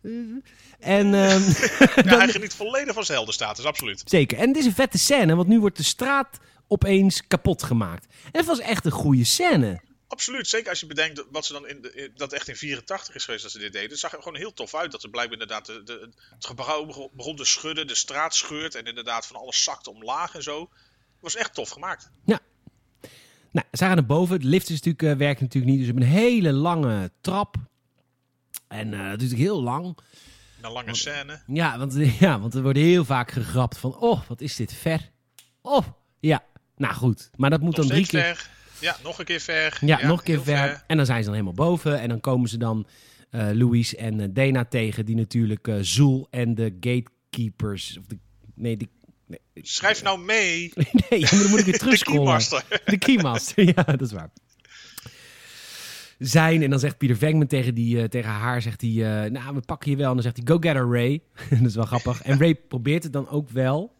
S1: eh. en... ehm,
S2: Ja, hij geniet volledig van zijn heldenstatus, absoluut.
S1: Zeker. En het is een vette scène, want nu wordt de straat opeens kapot gemaakt. En het was echt een goede scène.
S2: Absoluut, zeker als je bedenkt wat ze dan in, de, in- dat echt in 84 is geweest dat ze dit deden. Het zag er gewoon heel tof uit dat ze blijkbaar inderdaad de, de- het gebouw begon- begon te schudden, de straat scheurt en inderdaad van alles zakte omlaag en zo. Het was echt tof gemaakt.
S1: Nou, zij gaan naar boven. Het lift is natuurlijk, eh, werkt natuurlijk niet, dus we hebben een hele lange trap. En eh, dat is natuurlijk heel lang.
S2: Een lange scène.
S1: Ja want, ja, want er wordt heel vaak gegrapt van, oh, wat is dit ver. Oh, ja. Nou goed, maar dat moet
S2: Nog
S1: dan drie
S2: steeds
S1: keer...
S2: ver. Ja, nog een keer ver.
S1: Ja, nog een keer
S2: heel
S1: ver. En dan zijn ze dan helemaal boven. En dan komen ze dan eh Louise en eh, Dana tegen, die natuurlijk eh Zoel en de gatekeepers... Of de, nee, de
S2: Schrijf nou mee.
S1: Nee, maar dan moet ik weer
S2: De
S1: terugscrollen.
S2: keymaster.
S1: De keymaster. ja, dat is waar. Zijn, en dan zegt Pieter Venkman tegen, die, eh, tegen haar, zegt hij, eh, nou, we pakken je wel. En dan zegt hij, go get her, Ray. dat is wel grappig. En Ray probeert het dan ook wel.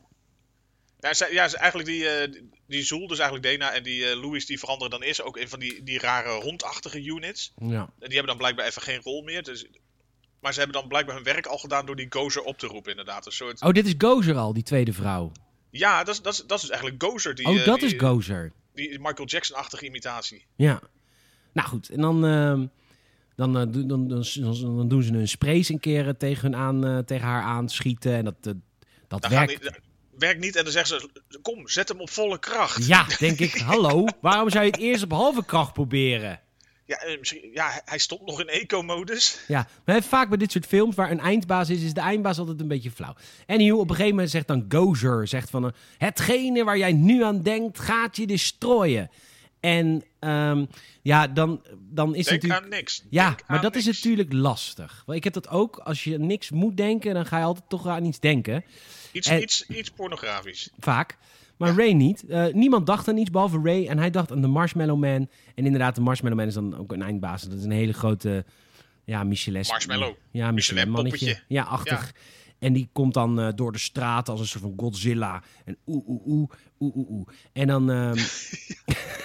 S2: Ja, zij- ja, ze- eigenlijk die, eh, die- die Zoel, dus eigenlijk Dena en die eh Louis, die veranderen dan eerst ook in van die, die rare rondachtige units.
S1: Ja.
S2: En die hebben dan blijkbaar even geen rol meer. Dus... Maar ze hebben dan blijkbaar hun werk al gedaan door die gozer op te roepen, inderdaad. Een soort...
S1: Oh, dit is Gozer al, die tweede vrouw.
S2: Ja, dat is, dat, is, dat is dus eigenlijk gozer. Die,
S1: oh,
S2: eh,
S1: dat
S2: die,
S1: is Gozer.
S2: Die Michael Jackson-achtige imitatie.
S1: Ja. Nou goed, en dan, ehm, dan, eh, do- dan, dan, dan, dan doen ze hun sprays een keer eh, tegen, hun aan, eh, tegen haar aanschieten. En dat, eh, dat
S2: Dan
S1: werkt
S2: Gaan die, werkt niet en dan zeggen ze, kom, zet hem op volle kracht.
S1: Ja, denk ik. Hallo, waarom zou je het eerst op halve kracht proberen?
S2: Ja, eh, misschien, ja hij- hij stond nog in eco-modus.
S1: Ja, maar hè, vaak bij dit soort films waar een eindbaas is, is de eindbaas altijd een beetje flauw. En hier op een gegeven moment zegt dan Gozer, zegt van... eh, Hetgene waar jij nu aan denkt, gaat je destroyen. En ehm, ja, dan, dan is
S2: Denk
S1: natuurlijk...
S2: aan niks.
S1: Ja,
S2: Denk
S1: maar
S2: aan
S1: dat is
S2: niks.
S1: natuurlijk lastig. Want ik heb dat ook, als je aan niks moet denken, dan ga je altijd toch aan iets denken.
S2: Iets,
S1: en-
S2: iets, iets pornografisch.
S1: Vaak. Maar Ray niet. Eh, niemand dacht aan iets behalve Ray. En hij dacht aan de Marshmallow Man. En inderdaad, de Marshmallow Man is dan ook een eindbaas. Dat is een hele grote. Ja, Michelin.
S2: Marshmallow.
S1: Ja, Michelin mannetje.
S2: Michelin-poppetje.
S1: Ja, achtig. En die komt dan eh, door de straat als een soort van Godzilla. En oeh, oeh, oeh, oeh, oeh, oeh. En dan. ehm,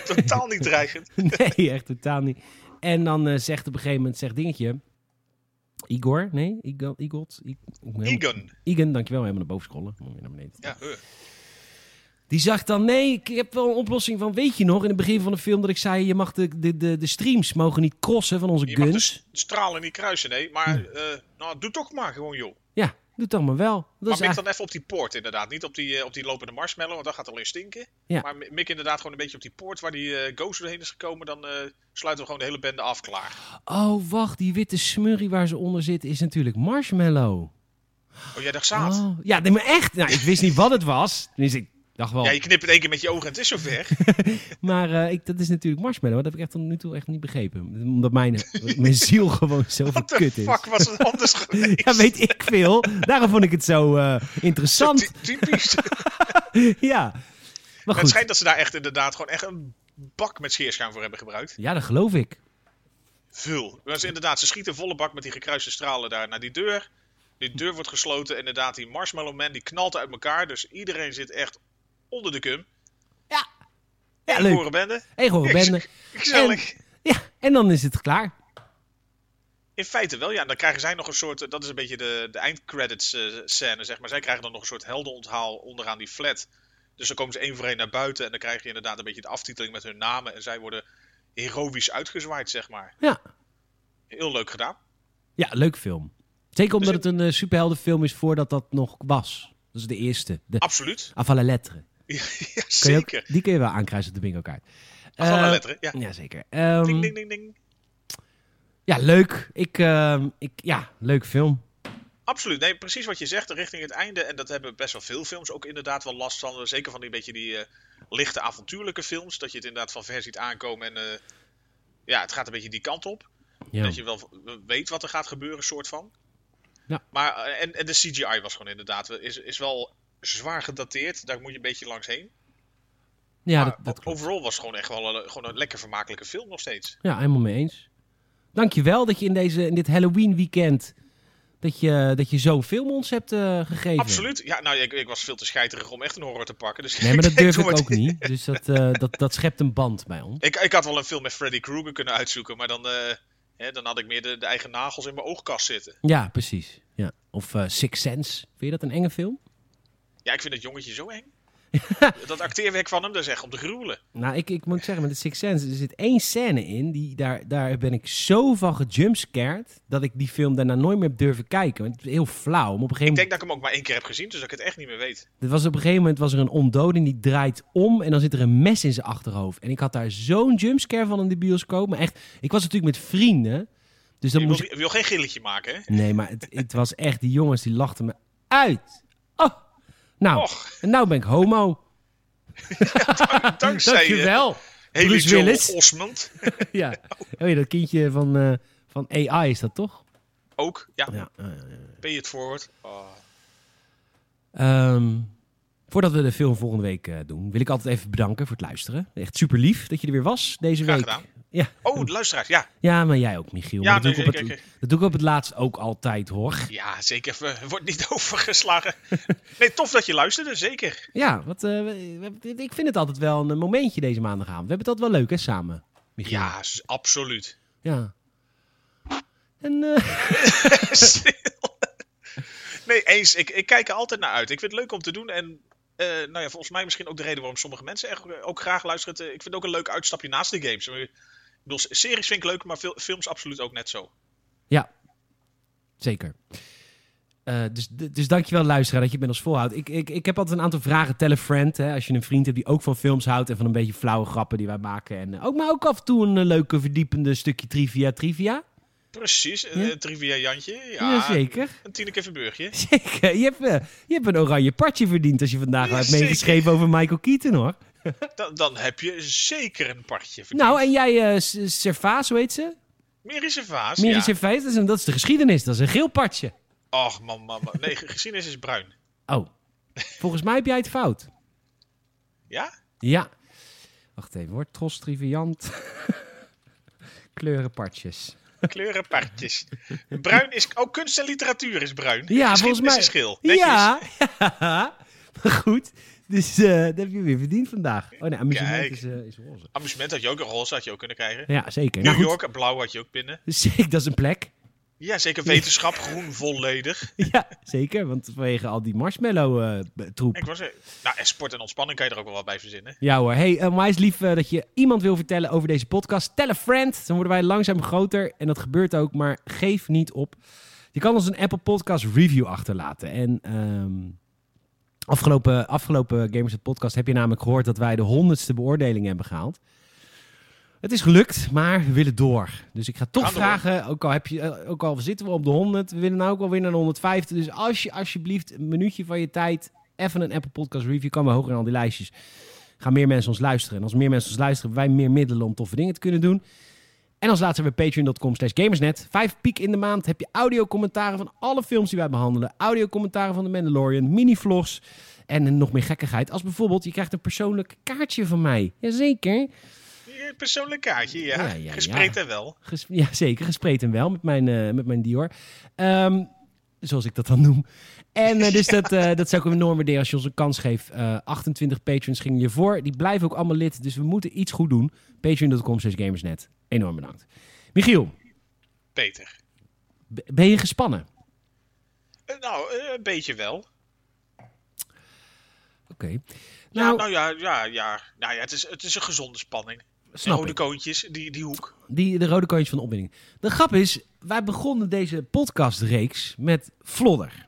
S2: Totaal niet dreigend.
S1: nee, echt totaal niet. En dan eh, zegt op een gegeven moment, zegt dingetje. Igor? Nee, Igor? Igor? Ik- ik moet helemaal-
S2: Egan.
S1: Egan, dankjewel. Helemaal naar boven scrollen. Moet weer naar beneden.
S2: Ja, eh.
S1: Die zag dan, nee, ik heb wel een oplossing van, weet je nog, in het begin van de film dat ik zei, je mag de, de, de, de streams mogen niet crossen van onze
S2: Je mag dus- de
S1: guns.
S2: s- stralen niet kruisen, nee. Maar eh, nou, doe toch maar gewoon, joh.
S1: Ja, doe het allemaal wel. Dat
S2: maar
S1: is
S2: mik
S1: eigenlijk...
S2: dan even op die poort, inderdaad. Niet op die, eh, op die lopende marshmallow, want dat gaat alleen stinken.
S1: Ja.
S2: Maar mi- mik inderdaad gewoon een beetje op die poort waar die eh, ghost doorheen is gekomen. Dan eh, sluiten we gewoon de hele bende af, klaar.
S1: Oh, wacht, die witte smurrie waar ze onder zit is natuurlijk marshmallow.
S2: Oh, jij dacht zaad.
S1: Oh, ja, nee, maar echt. Nou, ik wist niet wat het was. Tenminste, ik dacht wel.
S2: Ja, je knipt het één keer met je ogen en het is zover.
S1: Maar eh, ik, dat is natuurlijk marshmallow. Dat heb ik echt tot nu toe echt niet begrepen. Omdat mijn, mijn ziel gewoon zo
S2: Wat
S1: verkut
S2: de
S1: is.
S2: fuck was het anders geweest?
S1: Ja, weet ik veel. Daarom vond ik het zo eh,
S2: Zo
S1: interessant.
S2: ty- Typisch.
S1: Ja. Maar
S2: Maar het
S1: goed.
S2: schijnt dat ze daar echt inderdaad gewoon echt een bak met scheerschuim voor hebben gebruikt.
S1: Ja, dat geloof ik.
S2: Veel. Dus inderdaad, ze schieten volle bak met die gekruiste stralen daar naar die deur. Die deur wordt gesloten. Inderdaad, die Marshmallow Man die knalt uit elkaar. Dus iedereen zit echt onder de cum.
S1: Ja,
S2: Leuk.
S1: leuk.
S2: Horen bende.
S1: Hey, hoor, bende.
S2: Gezellig.
S1: Ja, en dan is het klaar.
S2: In feite wel, ja. En dan krijgen zij nog een soort... eh, Dat is een beetje de, de eindcredits eh, scène, zeg maar. Zij krijgen dan nog een soort heldenonthaal onderaan die flat. Dus dan komen ze één voor één naar buiten. En dan krijg je inderdaad een beetje de aftiteling met hun namen. En zij worden heroïsch uitgezwaaid, zeg maar.
S1: Ja.
S2: Heel leuk gedaan.
S1: Ja, leuk film. Zeker omdat
S2: Dus
S1: het een eh, superheldenfilm is voordat dat nog was. Dat is de eerste. De
S2: Absoluut.
S1: Avant la lettre.
S2: Ja, ja,
S1: Kun je ook-
S2: zeker.
S1: die kun je wel aankruisen op de bingo kaart.
S2: Gewoon
S1: Eh,
S2: een letter, ja.
S1: Ja, zeker. Ehm,
S2: Ding, ding, ding, ding.
S1: Ja, leuk. Ik, ehm, ik, ja, leuk film.
S2: Absoluut. Nee, precies wat je zegt, richting het einde. En dat hebben best wel veel films ook inderdaad wel last van. Zeker van die beetje die eh, lichte avontuurlijke films. Dat je het inderdaad van ver ziet aankomen. En eh, ja, het gaat een beetje die kant op.
S1: Ja.
S2: Dat je wel v- weet wat er gaat gebeuren, soort van.
S1: Ja.
S2: Maar, eh, en, en de CGI was gewoon inderdaad... Is, is wel zwaar gedateerd. Daar moet je een beetje langs heen.
S1: ja,
S2: maar
S1: dat, dat
S2: o-
S1: klopt.
S2: overal was het gewoon echt wel een, gewoon een lekker vermakelijke film nog steeds.
S1: Ja, helemaal mee eens. Dankjewel dat je in, deze, in dit Halloween weekend... dat je, dat je zo'n film ons hebt eh, gegeven.
S2: Absoluut. Ja, nou, ik, ik was veel te scheiterig om echt een horror te pakken. Dus
S1: Nee, maar dat durf
S2: doe
S1: ik
S2: het-
S1: ook niet. Dus dat, eh, dat, dat schept een band bij ons.
S2: Ik, ik had wel een film met Freddy Krueger kunnen uitzoeken, maar dan, eh, hè, dan had ik meer de, de eigen nagels in mijn oogkast zitten.
S1: Ja, precies. Ja. Of eh, Six Sense. Vind je dat een enge film?
S2: Ja, ik vind dat jongetje zo eng. dat acteerwerk van hem, dat is echt om te gruwelen.
S1: Nou, ik, ik moet zeggen, met de Six Sense, er zit één scène in, die, daar, daar ben ik zo van gejumpscared, dat ik die film daarna nooit meer heb durven kijken. Want het is heel flauw. Maar op een gegeven moment,
S2: Ik denk dat ik hem ook maar één keer heb gezien, dus dat ik het echt niet meer weet.
S1: er was op een gegeven moment was er een ondode en die draait om en dan zit er een mes in zijn achterhoofd. En ik had daar zo'n jumpscare van in de bioscoop. Maar echt, ik was natuurlijk met vrienden, dus dan
S2: Je
S1: moest
S2: wil, je wil geen gilletje maken, hè?
S1: ik... Nee, maar het, het was echt, die jongens die lachten me uit. Oh, nou,
S2: Och,
S1: en nou ben ik homo.
S2: dankzij eh,
S1: Dankjewel.
S2: Haley
S1: Bruce
S2: Joel
S1: Willis.
S2: Osmond
S1: Ja, oh, ja, dat kindje van, eh, van AI is dat toch?
S2: ook. Ja,
S1: Ja, eh,
S2: pay it forward. Oh.
S1: Ehm, voordat we de film volgende week eh, doen, wil ik altijd even bedanken voor het luisteren. Echt super lief dat je er weer was deze
S2: Graag
S1: week.
S2: gedaan.
S1: Ja.
S2: oh, de luisteraars, ja.
S1: ja, maar jij ook, Michiel.
S2: Ja,
S1: Maar dat,
S2: nee,
S1: doe ik op
S2: zeker,
S1: het, dat doe ik op het laatst ook altijd, hoor.
S2: Ja, zeker. We- Wordt niet overgeslagen. Nee, tof dat je luisterde, zeker.
S1: Ja, wat, eh, we- we- ik vind het altijd wel een momentje deze maandag aan. We hebben het altijd wel leuk, hè, samen, Michiel?
S2: Ja, s- absoluut.
S1: Ja. En, eh,
S2: Stil. nee, eens. Ik, ik kijk er altijd naar uit. Ik vind het leuk om te doen. En eh, nou ja, volgens mij misschien ook de reden waarom sommige mensen echt, ook graag luisteren. Eh, Ik vind het ook een leuk uitstapje naast de games. Ik bedoel, series vind ik leuk, maar fil- films absoluut ook net zo.
S1: ja, zeker. Eh, dus, dus dankjewel luisteraar dat je het met ons volhoudt. Ik, ik, ik heb altijd een aantal vragen. Tell a friend. Hè, als je een vriend hebt die ook van films houdt. En van een beetje flauwe grappen die wij maken. En, eh, ook, maar ook af en toe een eh, leuke verdiepende stukje trivia. Trivia?
S2: Precies. eh,
S1: Ja?
S2: trivia Jantje. Ja,
S1: Jazeker.
S2: Een Tineke Verburgje.
S1: Zeker. Je hebt, eh, je hebt een oranje partje verdiend als je vandaag
S2: Ja,
S1: hebt meegeschreven over Michael Keaton hoor.
S2: Dan, dan heb je zeker een partje verdiend.
S1: Nou, en jij eh S- Servaas, hoe heet ze?
S2: Meer is een vaas.
S1: Miri
S2: ja.
S1: Servaas, dat is, een- dat is de geschiedenis. Dat is een geel partje.
S2: Och, man, man, man. Nee, ge- geschiedenis is bruin.
S1: Oh, volgens mij heb jij het fout.
S2: Ja?
S1: Ja. Wacht even hoor. Tros, triviant. Kleurenpartjes.
S2: Kleuren partjes. Bruin is... Oh, kunst en literatuur is bruin.
S1: Ja, volgens
S2: Geschiedenis
S1: mij-
S2: is geel. Netjes.
S1: Ja, ja. Maar goed. Dus eh, dat heb je weer verdiend vandaag. Oh nee, amusement
S2: Kijk.
S1: is, eh, is roze.
S2: Amusement had je ook een roze had je ook kunnen krijgen.
S1: Ja, zeker. Nou
S2: New
S1: goed.
S2: York, blauw had je ook binnen.
S1: Zeker, dat is een plek.
S2: Ja, zeker wetenschap, groen volledig.
S1: ja, zeker. Want vanwege al die eh, marshmallow-troep.
S2: Ik was er... Nou, en sport en ontspanning kan je er ook wel wat bij verzinnen.
S1: Ja hoor. Hey, eh, onwijs lief eh, dat je iemand wil vertellen over deze podcast. Tell a friend. Dan worden wij langzaam groter. En dat gebeurt ook, maar geef niet op. Je kan ons een Apple Podcast review achterlaten. En ehm, afgelopen, afgelopen Gamers Net Podcast heb je namelijk gehoord dat wij de honderdste beoordeling hebben gehaald. Het is gelukt, maar we willen door. Dus ik ga toch
S2: Gaan door.
S1: vragen, ook al, heb je, eh, ook al zitten we op de 100, we willen nou ook wel weer naar de 150. Dus als je alsjeblieft een minuutje van je tijd, even een Apple Podcast review, kan we hoger in al die lijstjes gaan meer mensen ons luisteren. En als meer mensen ons luisteren, hebben wij meer middelen om toffe dingen te kunnen doen. En als laatste hebben we patreon.com slash gamersnet. Vijf piek in de maand heb je audiocommentaren van alle films die wij behandelen. Audiocommentaren van The Mandalorian, mini-vlogs en nog meer gekkigheid. Als bijvoorbeeld, je krijgt een persoonlijk kaartje van mij. Jazeker.
S2: Ja, Persoonlijk kaartje, ja.
S1: Ja, ja,
S2: ja,
S1: ja.
S2: Gespreid en wel.
S1: Ges- ja, zeker. Gespreid en wel met mijn, eh, met mijn Dior. Ehm, zoals ik dat dan noem. En eh, dus dat, eh, dat zou ik enorm waarderen als je ons een kans geeft. Eh, 28 patrons gingen je voor. Die blijven ook allemaal lid. Dus we moeten iets goed doen. Patreon.com slash gamersnet. Enorm bedankt. Michiel,
S2: Peter.
S1: b- ben je gespannen?
S2: Eh, nou, eh, een beetje wel.
S1: Oké.
S2: Ja,
S1: Nou,
S2: nou ja, ja, ja. Nou ja, het is, het is een gezonde spanning.
S1: snap
S2: Rode
S1: ik.
S2: koontjes, die, die hoek.
S1: Die, de rode koontjes van de opwinding. De grap is, wij begonnen deze podcastreeks met Vlodder.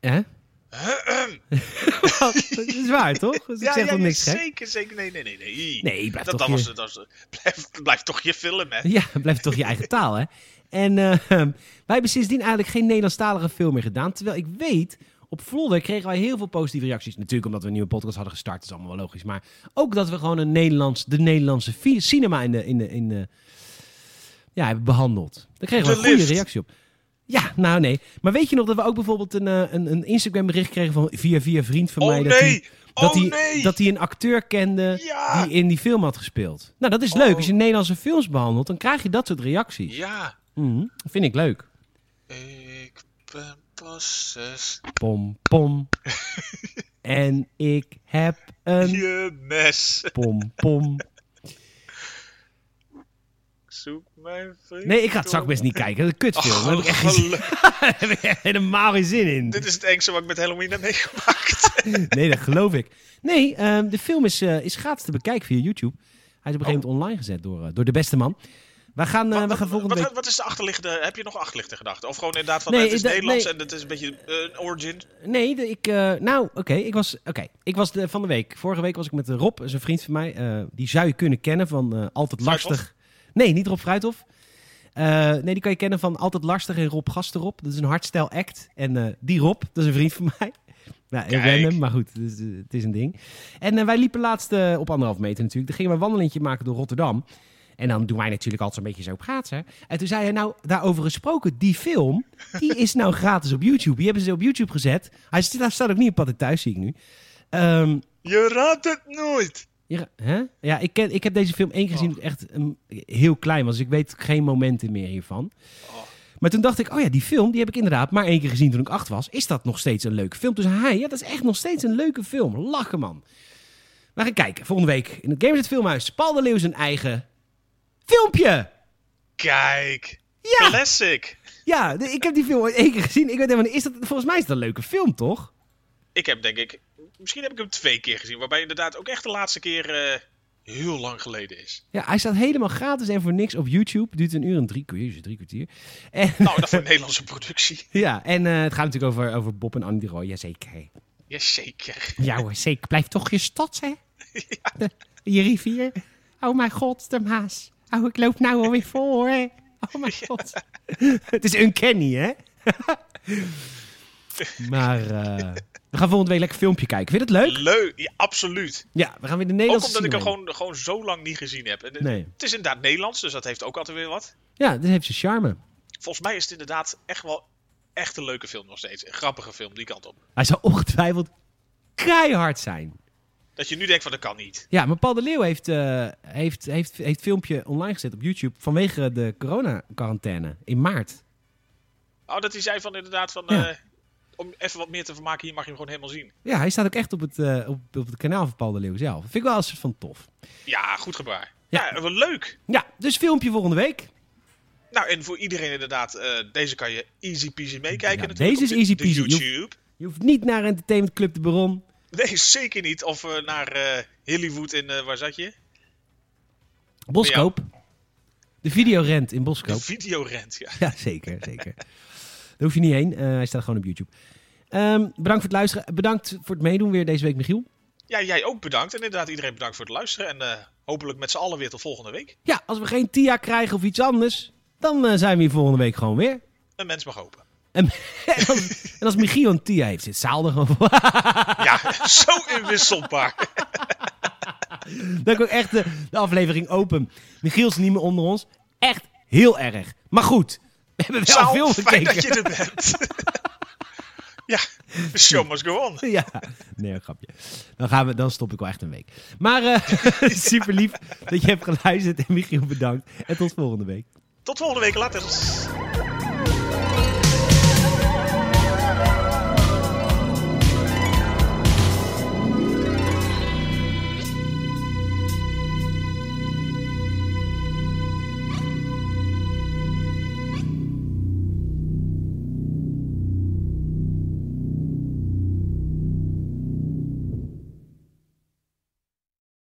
S1: Hè? dat is waar, toch? Dus ik
S2: ja,
S1: zeg
S2: ja,
S1: dan
S2: ja,
S1: niks, hè?
S2: Zeker, zeker. Nee, nee, nee. Nee,
S1: Nee, blijf
S2: dat,
S1: toch
S2: dat
S1: je-
S2: was, het, dat was het. blijf, blijf toch je film, hè.
S1: Ja, het blijft toch je eigen taal, hè? En eh, wij hebben sindsdien eigenlijk geen Nederlandstalige film meer gedaan. Terwijl ik weet, op Vlodder kregen wij heel veel positieve reacties. Natuurlijk omdat we een nieuwe podcast hadden gestart, dat is allemaal wel logisch. Maar ook dat we gewoon een Nederlands, de Nederlandse fi- cinema in de, in de, in de, ja, hebben behandeld. Daar kregen we
S2: De
S1: een goede
S2: lift.
S1: reactie op. Ja, nou nee. Maar weet je nog dat we ook bijvoorbeeld een, eh, een, een Instagram bericht kregen van via via vriend van
S2: Oh,
S1: mij? Dat
S2: nee!
S1: hij- dat hij,
S2: Oh, nee!
S1: dat hij een acteur kende
S2: Ja!
S1: die in die film had gespeeld. Nou, dat is leuk.
S2: Oh.
S1: Als je Nederlandse films behandelt, dan krijg je dat soort reacties.
S2: Ja.
S1: Mhm. Vind ik leuk.
S2: Ik ben pas zes.
S1: Pom, pom. en ik heb een
S2: Je mes.
S1: pom, pom.
S2: Zoek mijn vriend.
S1: Nee, ik ga het zakbest niet kijken. Dat is een kutfilm.
S2: Oh,
S1: Daar heb ik echt geen zin-
S2: gelukkig.
S1: daar heb ik echt helemaal geen zin in.
S2: Dit is het engste wat ik met Halloween heb meegemaakt.
S1: Nee, dat geloof ik. Nee, ehm, de film is, eh, is gratis te bekijken via YouTube. Hij is op een gegeven
S2: Oh.
S1: moment online gezet door, eh, door de beste man. We gaan, eh, we
S2: wat,
S1: gaan volgende
S2: wat-
S1: week...
S2: wat is de achterliggende... Heb je nog achterliggende gedachten? Of gewoon inderdaad van
S1: Nee,
S2: het is
S1: dat-
S2: Nederlands
S1: nee.
S2: en het is een beetje eh, een origin?
S1: Nee, de- ik, eh, nou, oké. ik was, oké, ik was de, van de week. Vorige week was ik met eh, Rob, dat is een vriend van mij. eh, die zou je kunnen kennen van eh, Altijd
S2: Fruithof?
S1: Lastig. Nee, niet Rob Fruithof. Eh, nee, die kan je kennen van Altijd Lastig en Rob Gasterop. Dat is een hardstyle act. En eh, die Rob, dat is een vriend van mij. Nou, heel
S2: Kijk.
S1: random, maar goed, het is, eh, het is een ding. En eh, wij liepen laatst eh, op anderhalf meter natuurlijk. Dan gingen we een wandelingetje maken door Rotterdam. En dan doen wij natuurlijk altijd een beetje zo praten. En toen zei hij, nou, daarover gesproken, die film, die is nou gratis op YouTube. Die hebben ze op YouTube gezet. Hij zit- hij staat ook niet op pad thuis, zie ik nu. Ehm,
S2: Je raadt het nooit.
S1: ja, hè? ja ik, ken, ik heb deze film één keer gezien, toen ik echt ehm, heel klein was. Dus ik weet geen momenten meer hiervan.
S2: Oh.
S1: Maar toen dacht ik, oh ja, die film, die heb ik inderdaad maar één keer gezien toen ik acht was. Is dat nog steeds een leuke film? Dus hij, ja, dat is echt nog steeds een leuke film. Lachen, man. We gaan kijken, volgende week in het Gamers het Filmhuis. Paul de Leeuw zijn eigen filmpje.
S2: Kijk.
S1: Ja!
S2: Classic.
S1: Ja, de- ik heb die film ooit één keer gezien. Ik weet helemaal niet, is dat, volgens mij is dat een leuke film, toch?
S2: Ik heb denk ik... Misschien heb ik hem twee keer gezien. Waarbij inderdaad ook echt de laatste keer eh, heel lang geleden is.
S1: Ja, hij staat helemaal gratis en voor niks op YouTube. Duurt een uur en drie, jezus, drie kwartier. En,
S2: Nou, dat voor een Nederlandse productie.
S1: ja, en eh, het gaat natuurlijk over, over Bob en Annie de Roy. Jazeker. hè.
S2: Jazeker.
S1: Ja hoor, zeker. Blijf toch je stad, hè? De- je rivier. Oh mijn god, de Maas. Oh, ik loop nou alweer voor, hè? Oh mijn god. Het is uncanny, hè? maar eh, we gaan volgende week lekker filmpje kijken. Vind je het leuk?
S2: Leuk. Ja, absoluut.
S1: Ja, we gaan weer de
S2: Ook
S1: Nederlandse
S2: omdat ik hem
S1: cinema in.
S2: gewoon, gewoon zo lang niet gezien heb. En, eh,
S1: Nee.
S2: Het is inderdaad Nederlands, dus dat heeft ook altijd weer wat.
S1: Ja, dit heeft zijn charme.
S2: Volgens mij is het inderdaad echt wel echt een leuke film nog steeds. Een grappige film, die kant op.
S1: Hij zou ongetwijfeld keihard zijn.
S2: Dat je nu denkt van, dat kan niet.
S1: Ja, maar Paul de Leeuw heeft, eh, heeft, heeft, heeft filmpje online gezet op YouTube vanwege de corona-quarantaine in maart.
S2: Oh, dat hij zei van inderdaad van...
S1: Ja.
S2: eh, om even wat meer te vermaken, hier mag je hem gewoon helemaal zien.
S1: Ja, hij staat ook echt op het, eh, op, op het kanaal van Paul de Leeuw zelf. Vind ik wel een soort van tof.
S2: Ja, goed gebaar.
S1: Ja.
S2: Ja, wel leuk.
S1: Ja, dus filmpje volgende week.
S2: Nou, en voor iedereen inderdaad, eh, deze kan je easy peasy meekijken.
S1: Ja,
S2: natuurlijk
S1: deze
S2: op
S1: is
S2: de-
S1: easy
S2: de
S1: peasy. Je hoeft-
S2: YouTube.
S1: Je hoeft niet naar Entertainment Club de Baron.
S2: Nee, zeker niet. Of eh, naar eh, Hollywood in, eh, waar zat je?
S1: Boskoop. De videorent in
S2: De
S1: Boskoop.
S2: videorent, ja.
S1: Ja, zeker, zeker. Daar hoef je niet heen. Eh, hij staat gewoon op YouTube. Ehm, bedankt voor het luisteren. Bedankt voor het meedoen weer deze week, Michiel.
S2: Ja, jij ook bedankt. En inderdaad, iedereen bedankt voor het luisteren. En eh, hopelijk met z'n allen weer tot volgende week.
S1: Ja, als we geen TIA krijgen of iets anders, dan eh, zijn we hier volgende week gewoon weer.
S2: Een mens mag hopen.
S1: En, en, als, en als Michiel een TIA heeft, zit Saal er gewoon voor.
S2: Ja, zo inwisselbaar.
S1: Dan kan ik echt de, de aflevering open. Michiel is niet meer onder ons. Echt heel erg. Maar goed, we hebben wel
S2: Saal,
S1: veel
S2: fijn
S1: gekeken.
S2: dat je er bent. ja, the show must go on.
S1: Ja, nee, een grapje. Dan, gaan we, dan stop ik wel echt een week. Maar eh, super lief dat je hebt geluisterd. En Michiel, bedankt. En tot volgende week.
S2: Tot volgende week, later.